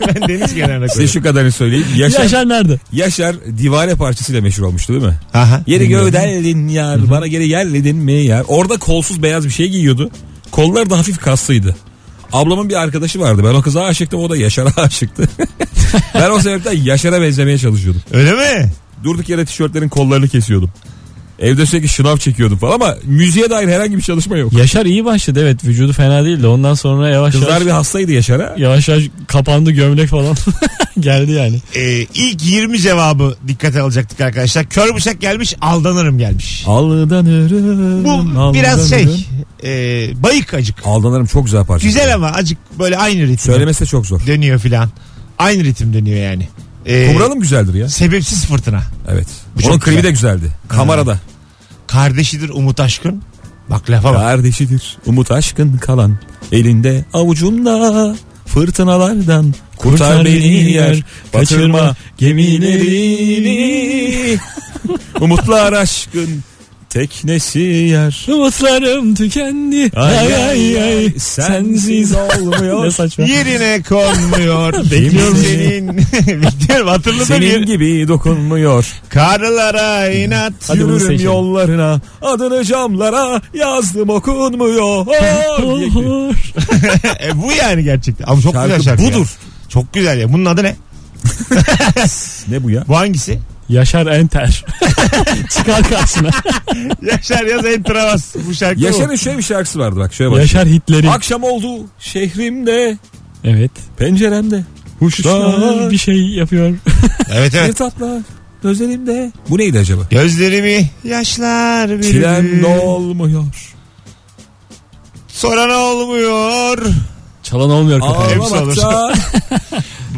Speaker 2: ben deniz kenarına
Speaker 4: Size
Speaker 2: koyuyorum.
Speaker 4: şu kadarını söyleyeyim. Yaşar, Yaşar.
Speaker 3: Yaşar nerede?
Speaker 4: divane parçasıyla meşhur olmuştu değil mi?
Speaker 2: Aha.
Speaker 4: Yeri gövdelin yar bana geri geldin mi yar. Orada kolsuz beyaz bir şey giyiyordu. Kollar da hafif kaslıydı. Ablamın bir arkadaşı vardı. Ben o kıza aşıktım o da Yaşar'a aşıktı. ben o sebepten Yaşar'a benzemeye çalışıyordum.
Speaker 2: Öyle mi?
Speaker 4: Durduk yere tişörtlerin kollarını kesiyordum. Evde sürekli şınav çekiyordum falan ama müziğe dair herhangi bir çalışma yok.
Speaker 3: Yaşar iyi başladı evet vücudu fena değildi. Ondan sonra yavaş
Speaker 4: Kızlar
Speaker 3: yavaş,
Speaker 4: bir hastaydı Yaşar'a.
Speaker 3: yavaş yavaş kapandı gömlek falan. Geldi yani.
Speaker 2: Ee, ilk 20 cevabı dikkate alacaktık arkadaşlar. Kör bıçak gelmiş aldanırım gelmiş.
Speaker 3: Aldanırım.
Speaker 2: Bu biraz şey e, bayık acık.
Speaker 4: Aldanırım çok güzel parça.
Speaker 2: Güzel ama acık böyle aynı ritim.
Speaker 4: Söylemesi de çok zor.
Speaker 2: Dönüyor filan. Aynı ritim dönüyor yani. Ee,
Speaker 4: Kumralım güzeldir ya.
Speaker 2: Sebepsiz fırtına.
Speaker 4: Evet.
Speaker 2: Bu
Speaker 4: Onun
Speaker 2: çok
Speaker 4: klibi
Speaker 2: güzel.
Speaker 4: de güzeldi. Kamerada.
Speaker 2: Kardeşidir Umut Aşkın. Bak lafa bak.
Speaker 4: Kardeşidir Umut aşkın kalan elinde avucunda fırtınalardan kurtar beni yer kaçırma gemilerini umutlar aşkın teknesi yer
Speaker 3: Umutlarım tükendi. Ay ay ay. Sensiz ne
Speaker 4: olmuyor
Speaker 3: saçma.
Speaker 2: Yerine konmuyor. Bekliyorum
Speaker 4: Bekliyorum
Speaker 2: senin. Bekliyorum hatırladım.
Speaker 4: senin
Speaker 2: bir-
Speaker 4: gibi dokunmuyor
Speaker 2: Karılara inat.
Speaker 3: Hadi bunu
Speaker 4: yürürüm
Speaker 3: seçelim.
Speaker 4: yollarına adını camlara yazdım okunmuyor diye gidiyor.
Speaker 3: Hor.
Speaker 2: E, bu yani gerçekten. Ama çok güzel
Speaker 4: Şarkı
Speaker 2: şarkı. ya.
Speaker 4: budur.
Speaker 2: Çok güzel ya. Bunun adı ne?
Speaker 4: ne bu ya
Speaker 2: Bu hangisi?
Speaker 3: Yaşar Enter. Çıkar karşına.
Speaker 2: Yaşar yaz entra bas. Bu şarkı bu.
Speaker 4: Yaşar'ın şöyle bir şarkısı vardı bak şöyle bak
Speaker 3: Yaşar Hitler'i.
Speaker 4: akşam oldu şehrimde
Speaker 3: Evet.
Speaker 4: Penceremde.
Speaker 3: Kuşlar bir şey yapıyor.
Speaker 2: Evet
Speaker 4: Bir
Speaker 2: evet.
Speaker 4: tatlı gözlerimde. Bu neydi acaba?
Speaker 2: Gözlerimi yaşlar
Speaker 4: Çilem
Speaker 2: bürüdü.
Speaker 4: dolmuyor.
Speaker 2: Soran olmuyor.
Speaker 3: Çalan olmuyor kafaya.
Speaker 2: hepsi
Speaker 4: Ağlamakta.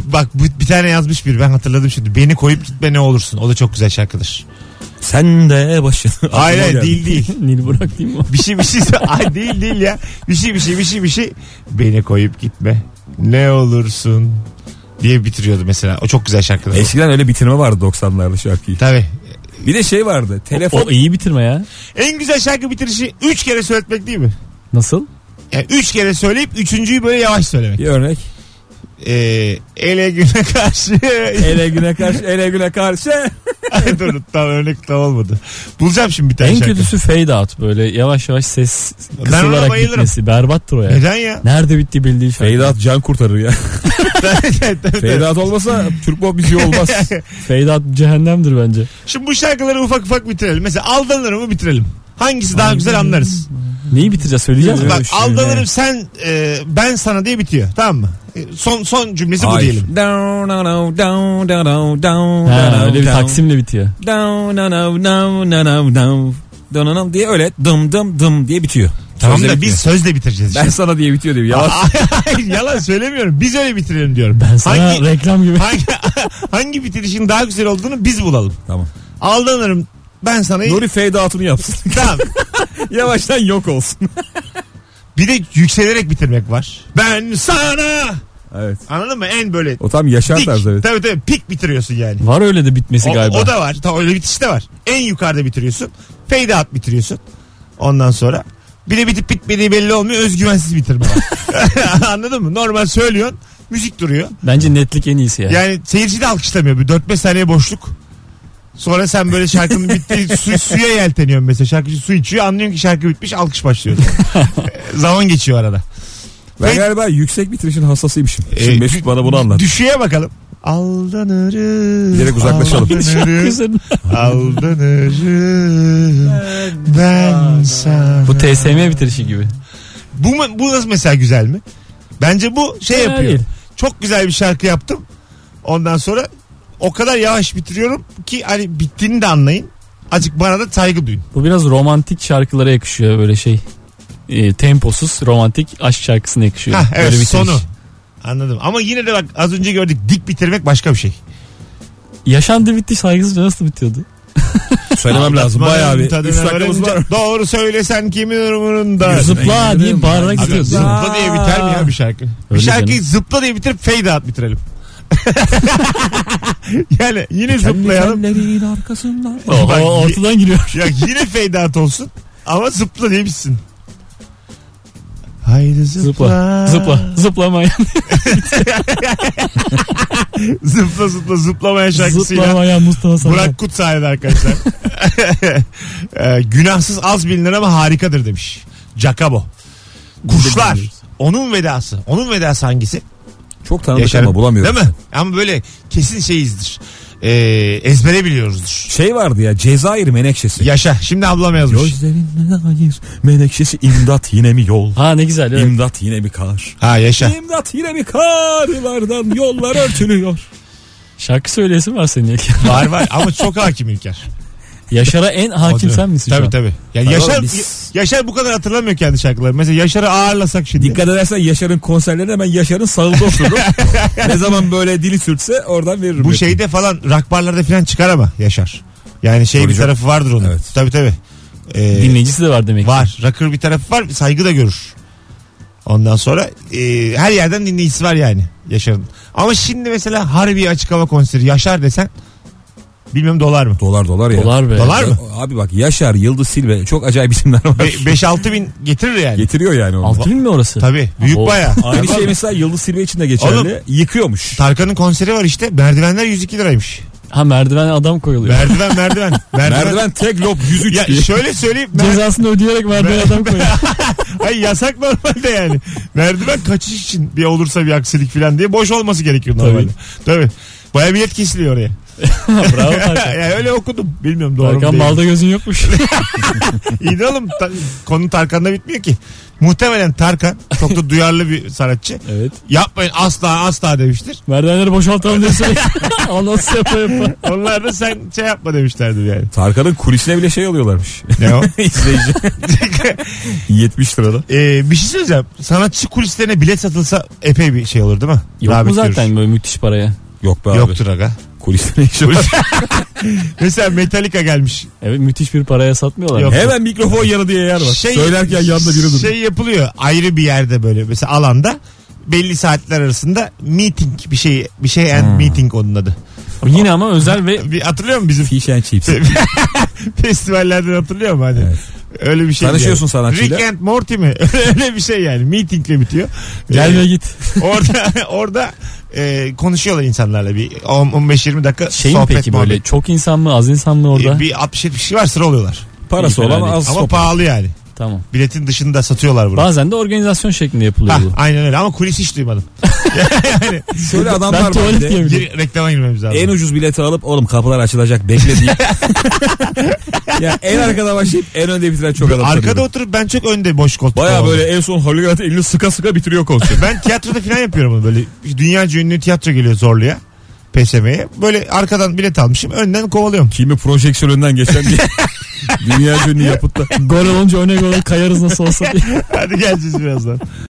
Speaker 2: Bak bu- bir tane yazmış bir ben hatırladım şimdi. Beni koyup gitme ne olursun. O da çok güzel şarkıdır.
Speaker 4: Sen de başın.
Speaker 2: Hayır hayır,
Speaker 4: Aklıma
Speaker 2: değil
Speaker 4: geldi.
Speaker 2: değil.
Speaker 3: Nil Burak değil mi o?
Speaker 2: Bir şey bir şey. Ay değil değil ya. Bir şey bir şey bir şey bir şey. Beni koyup gitme. Ne olursun diye bitiriyordu mesela. O çok güzel şarkıdır.
Speaker 4: Eskiden öyle bitirme vardı 90'larda şarkıyı.
Speaker 2: Tabii.
Speaker 4: Bir de şey vardı. Telefon.
Speaker 3: O iyi bitirme ya.
Speaker 2: En güzel şarkı bitirişi 3 kere söyletmek değil mi?
Speaker 3: Nasıl?
Speaker 2: Yani 3 kere söyleyip üçüncüyü böyle yavaş söylemek.
Speaker 4: Bir örnek.
Speaker 2: Ee, ele güne karşı.
Speaker 4: Ele güne karşı, ele güne karşı.
Speaker 2: Ay dur tam örnek tam olmadı. Bulacağım şimdi bir tane
Speaker 3: en
Speaker 2: şarkı.
Speaker 3: kötüsü fade out. Böyle yavaş yavaş ses
Speaker 2: Ben ona
Speaker 3: kısılarak
Speaker 2: bayılırım.
Speaker 3: gitmesi. Berbattır o ya.
Speaker 2: Neden ya?
Speaker 3: Nerede bitti bildiği şarkı.
Speaker 4: Feydat can kurtarır ya. Feydat olmasa Türk pop müziği olmaz.
Speaker 3: Fade out cehennemdir bence.
Speaker 2: Şimdi bu şarkıları ufak ufak bitirelim. Mesela aldanır mı bitirelim. Hangisi daha güzel anlarız.
Speaker 3: Neyi bitireceğiz söyleyeceğiz mi?
Speaker 2: Bak
Speaker 3: Öyle bir şey yani.
Speaker 2: aldanırım sen e, ben sana diye bitiyor tamam mı? E, Son son cümlesi bu diyelim.
Speaker 4: Down, down, down, down, down, down,
Speaker 3: Ha, öyle bir
Speaker 4: down.
Speaker 3: taksimle bitiyor.
Speaker 4: Down, down, down, down, down, down, down, down diye öyle dım dım dım diye bitiyor.
Speaker 2: Tamam
Speaker 4: Sözle
Speaker 2: da
Speaker 4: bitmiyor.
Speaker 2: biz sözle bitireceğiz.
Speaker 4: ben
Speaker 2: işte.
Speaker 4: sana diye bitiyor diyor. Yavaş.
Speaker 2: Hayır, yalan söylemiyorum. Biz öyle bitirelim diyorum.
Speaker 3: Ben sana
Speaker 2: hangi,
Speaker 3: reklam gibi.
Speaker 2: hangi, hangi bitirişin daha güzel olduğunu biz bulalım.
Speaker 4: tamam.
Speaker 2: Aldanırım ben sana.
Speaker 4: Nuri fade out'unu yapsın.
Speaker 2: Tamam.
Speaker 4: Yavaştan yok olsun.
Speaker 2: Bir de yükselerek bitirmek var. Ben sana.
Speaker 4: evet.
Speaker 2: Anladın mı? En böyle
Speaker 4: O tam yaşar
Speaker 2: dik.
Speaker 4: tarzı evet.
Speaker 2: Tabii tabii pik bitiriyorsun yani.
Speaker 3: Var öyle de bitmesi
Speaker 2: O,
Speaker 3: galiba.
Speaker 2: o da var. Ta, öyle bitiş de var. En yukarıda bitiriyorsun. Fade out bitiriyorsun. Ondan sonra. Bir de bitip bitmediği belli olmuyor. Özgüvensiz bitirme var. Anladın mı? Normal söylüyorsun. Müzik duruyor.
Speaker 3: Bence netlik en iyisi ya.
Speaker 2: Yani seyirci de alkışlamıyor. Bir 4-5 saniye boşluk. Sonra sen böyle şarkının bitti su, suya yelteniyorsun mesela. Şarkıcı su içiyor. Anlıyorsun ki şarkı bitmiş. Alkış başlıyor. Zaman geçiyor arada.
Speaker 4: Ben
Speaker 2: Fade-
Speaker 4: galiba yüksek bitirişin hassasıymışım.
Speaker 2: Ee,
Speaker 4: Şimdi Mesut bana bunu anlat.
Speaker 2: Düşüye bakalım. Aldanırım.
Speaker 4: Giderek uzaklaşalım.
Speaker 2: Aldanırım.
Speaker 3: Güzel.
Speaker 2: aldanırım. Ben sana.
Speaker 3: Bu TSM bitirişi gibi.
Speaker 2: Bu, mu- bu nasıl mesela güzel mi? Bence bu şey
Speaker 3: Fena
Speaker 2: yapıyor.
Speaker 3: değil.
Speaker 2: Çok güzel bir şarkı yaptım. Ondan sonra o kadar yavaş bitiriyorum ki hani bittiğini de anlayın. Acık bana da saygı duyun.
Speaker 3: Bu biraz romantik şarkılara yakışıyor böyle şey. E, temposuz romantik aşk şarkısına yakışıyor.
Speaker 2: Hah, evet
Speaker 3: Böyle bitiriş.
Speaker 2: sonu. Anladım. Ama yine de bak az önce gördük dik bitirmek başka bir şey.
Speaker 3: Yaşandı bitti saygısızca nasıl bitiyordu?
Speaker 4: Söylemem lazım.
Speaker 2: Atmanın
Speaker 4: Bayağı bir 3
Speaker 2: tadını
Speaker 4: dakikamız
Speaker 2: öğrenince
Speaker 4: var.
Speaker 2: Doğru söylesen kimin umurunda?
Speaker 3: Zıpla diye bağırarak
Speaker 2: Abi,
Speaker 3: gidiyordu.
Speaker 2: zıpla diye biter mi ya bir şarkı? bir
Speaker 3: Öyle
Speaker 2: şarkıyı
Speaker 3: canım.
Speaker 2: zıpla diye bitirip fade out bitirelim. yani
Speaker 3: E,
Speaker 2: yine zıplayalım.
Speaker 4: Dikenlerin arkasından.
Speaker 3: Oho,
Speaker 2: Bak,
Speaker 3: ortadan giriyor.
Speaker 2: Ya yine fade out olsun ama zıpla diye bitsin. Haydi zıpla.
Speaker 3: Zıpla. Zıpla. Zıplamayan.
Speaker 2: zıpla zıpla zıplamaya şarkısıyla.
Speaker 3: Zıplamayan Mustafa Sandal.
Speaker 2: Burak Kut sahnede arkadaşlar. Ee, günahsız az bilinir ama harikadır demiş. Jacabo. Kuşlar. Onun vedası. Onun vedası hangisi?
Speaker 4: Çok tanıdık
Speaker 2: Yaşar'ın.
Speaker 4: ama bulamıyorum.
Speaker 2: Değil mi? Ama böyle kesin şeyizdir. Ee, ezbere biliyoruzdur.
Speaker 4: Şey vardı ya Cezayir menekşesi.
Speaker 2: Yaşa. Şimdi ablam yazmış.
Speaker 4: Gözlerinden hayır menekşesi imdat yine mi yol?
Speaker 3: Ha ne güzel. Evet.
Speaker 4: İmdat yine mi kar?
Speaker 2: Ha yaşa.
Speaker 4: İmdat yine mi karlardan yollar örtülüyor?
Speaker 3: Şarkı söyleyesin var senin İlker.
Speaker 2: var var ama çok hakim İlker.
Speaker 3: Yaşar'a en hakim sen misin şu
Speaker 2: Tabii
Speaker 3: an?
Speaker 2: tabii. Yani
Speaker 4: Hayır
Speaker 2: Yaşar,
Speaker 4: oğlum biz-
Speaker 2: Yaşar bu kadar hatırlamıyor kendi şarkıları. Mesela Yaşar'ı ağırlasak şimdi.
Speaker 4: Dikkat edersen Yaşar'ın konserlerine hemen Yaşar'ın sağında otururum. ne zaman böyle dili sürtse oradan veririm.
Speaker 2: Bu şeyde falan rock barlarda falan çıkar ama Yaşar. Yani şey
Speaker 4: Tabii
Speaker 2: bir
Speaker 4: canım.
Speaker 2: tarafı vardır onun.
Speaker 4: Evet.
Speaker 2: Tabii tabii. Ee,
Speaker 3: Dinleyicisi de var demek. ki.
Speaker 2: Var. Rocker bir tarafı var. Saygı da görür. Ondan sonra e, her yerden dinleyicisi var yani Yaşar'ın. Ama şimdi mesela harbi açık hava konseri Yaşar desen bilmem dolar mı?
Speaker 4: Dolar dolar ya.
Speaker 3: Dolar be.
Speaker 2: Dolar mı?
Speaker 4: Abi bak Yaşar, Yıldız Silve çok acayip isimler var.
Speaker 2: Be- 5-6 bin getirir yani.
Speaker 4: Getiriyor yani onu.
Speaker 3: 6000 mi orası?
Speaker 2: Tabii. Büyük
Speaker 3: O-
Speaker 2: baya.
Speaker 4: Aynı şey mesela Yıldız Silve için de geçerli.
Speaker 2: Oğlum.
Speaker 4: Yıkıyormuş.
Speaker 2: Tarkan'ın konseri var işte. Merdivenler 102 liraymış.
Speaker 3: Ha merdiven adam koyuluyor.
Speaker 2: Merdiven merdiven. Merdiven.
Speaker 4: Merdiven tek lob 103
Speaker 2: Ya
Speaker 4: diye.
Speaker 2: şöyle söyleyeyim. Mer-
Speaker 3: Cezasını ödeyerek merdiven adam koyuyor.
Speaker 2: Ay yasak normalde yani. Merdiven kaçış için bir olursa bir aksilik falan diye boş olması gerekiyor normalde. Tabii. Baya bilet kesiliyor oraya.
Speaker 3: Bravo Tarkan.
Speaker 2: yani öyle okudum. Bilmiyorum doğru mu
Speaker 3: Tarkan
Speaker 2: değil.
Speaker 3: balda gözün yokmuş.
Speaker 2: İyi de oğlum ta- konu Tarkan'da bitmiyor ki. Muhtemelen Tarkan çok da duyarlı bir sanatçı.
Speaker 3: evet.
Speaker 2: Yapmayın asla asla demiştir.
Speaker 3: Merdivenleri boşaltalım desek. Anons yapa yapa.
Speaker 2: Onlar da sen şey yapma demişlerdir yani.
Speaker 4: Tarkan'ın kulisine bile şey alıyorlarmış.
Speaker 2: Ne o?
Speaker 4: İzleyici. 70 lirada.
Speaker 2: Ee, bir şey söyleyeceğim. Sanatçı kulislerine bilet satılsa epey bir şey olur değil mi?
Speaker 3: Yok mu
Speaker 2: Rağbet
Speaker 3: zaten
Speaker 2: görür.
Speaker 3: böyle müthiş paraya?
Speaker 4: Yok be abi.
Speaker 2: Yoktur aga.
Speaker 4: Kuliste ne işi var?
Speaker 2: Mesela Metallica gelmiş.
Speaker 3: Evet müthiş bir paraya satmıyorlar.
Speaker 2: Yok.
Speaker 4: Hemen mikrofon yanı diye yer var.
Speaker 2: Şey-
Speaker 4: Söylerken yanında biri durur.
Speaker 2: Şey yapılıyor ayrı bir yerde böyle mesela alanda belli saatler arasında meeting bir şey bir şey
Speaker 3: Hmm.
Speaker 2: and meeting onun adı.
Speaker 3: Yine ama özel ve
Speaker 2: Bir hatırlıyor musun bizim
Speaker 4: Fish and chips.
Speaker 2: Şey- festivallerden hatırlıyor musun hani?
Speaker 4: Evet.
Speaker 2: Öyle bir şey.
Speaker 4: Tanışıyorsun
Speaker 2: yani.
Speaker 4: sanatçıyla.
Speaker 2: Rick and Morty mi? Öyle bir şey yani. Meetingle bitiyor.
Speaker 3: gel ve
Speaker 2: Ee,
Speaker 3: git.
Speaker 2: orada orada e, konuşuyorlar insanlarla bir 10 15-20 dakika
Speaker 3: Şey mi
Speaker 2: sohbet
Speaker 3: peki
Speaker 2: muhabbet.
Speaker 3: böyle çok insan mı az insan mı orada?
Speaker 2: E, bir 60 70 kişi var sıra oluyorlar.
Speaker 4: Parası
Speaker 3: İyi, fena
Speaker 4: olan
Speaker 3: değil.
Speaker 4: az
Speaker 2: Ama
Speaker 4: sopa.
Speaker 2: pahalı yani.
Speaker 3: Tamam.
Speaker 2: Biletin dışında satıyorlar bunu.
Speaker 3: Bazen de organizasyon şeklinde yapılıyor
Speaker 2: Hah,
Speaker 3: bu.
Speaker 2: aynen öyle ama kulis hiç duymadım.
Speaker 4: Şöyle adamlar
Speaker 3: ben
Speaker 4: var
Speaker 3: tuvalet
Speaker 4: bir de.
Speaker 3: diyebilirim.
Speaker 2: Gir- reklama girmemiz lazım.
Speaker 4: En ucuz bileti alıp oğlum kapılar açılacak bekle diye. ya en arkada başlayıp en önde bitiren çok adam.
Speaker 2: Arkada
Speaker 4: sanıyorum.
Speaker 2: oturup ben çok önde boş koltukta
Speaker 4: Baya
Speaker 2: oldum.
Speaker 4: böyle en son Holigat'ı elini sıka sıka bitiriyor konser.
Speaker 2: Ben tiyatroda falan yapıyorum onu böyle. Dünyaca ünlü tiyatro geliyor Zorlu'ya. PSM'ye. Böyle arkadan bilet almışım. Önden kovalıyorum.
Speaker 4: Kimi projeksiyonundan geçen diye. Dünya ünlü yapıtta.
Speaker 3: Gol olunca öne gol kayarız nasıl olsa diye.
Speaker 2: Hadi geleceğiz birazdan.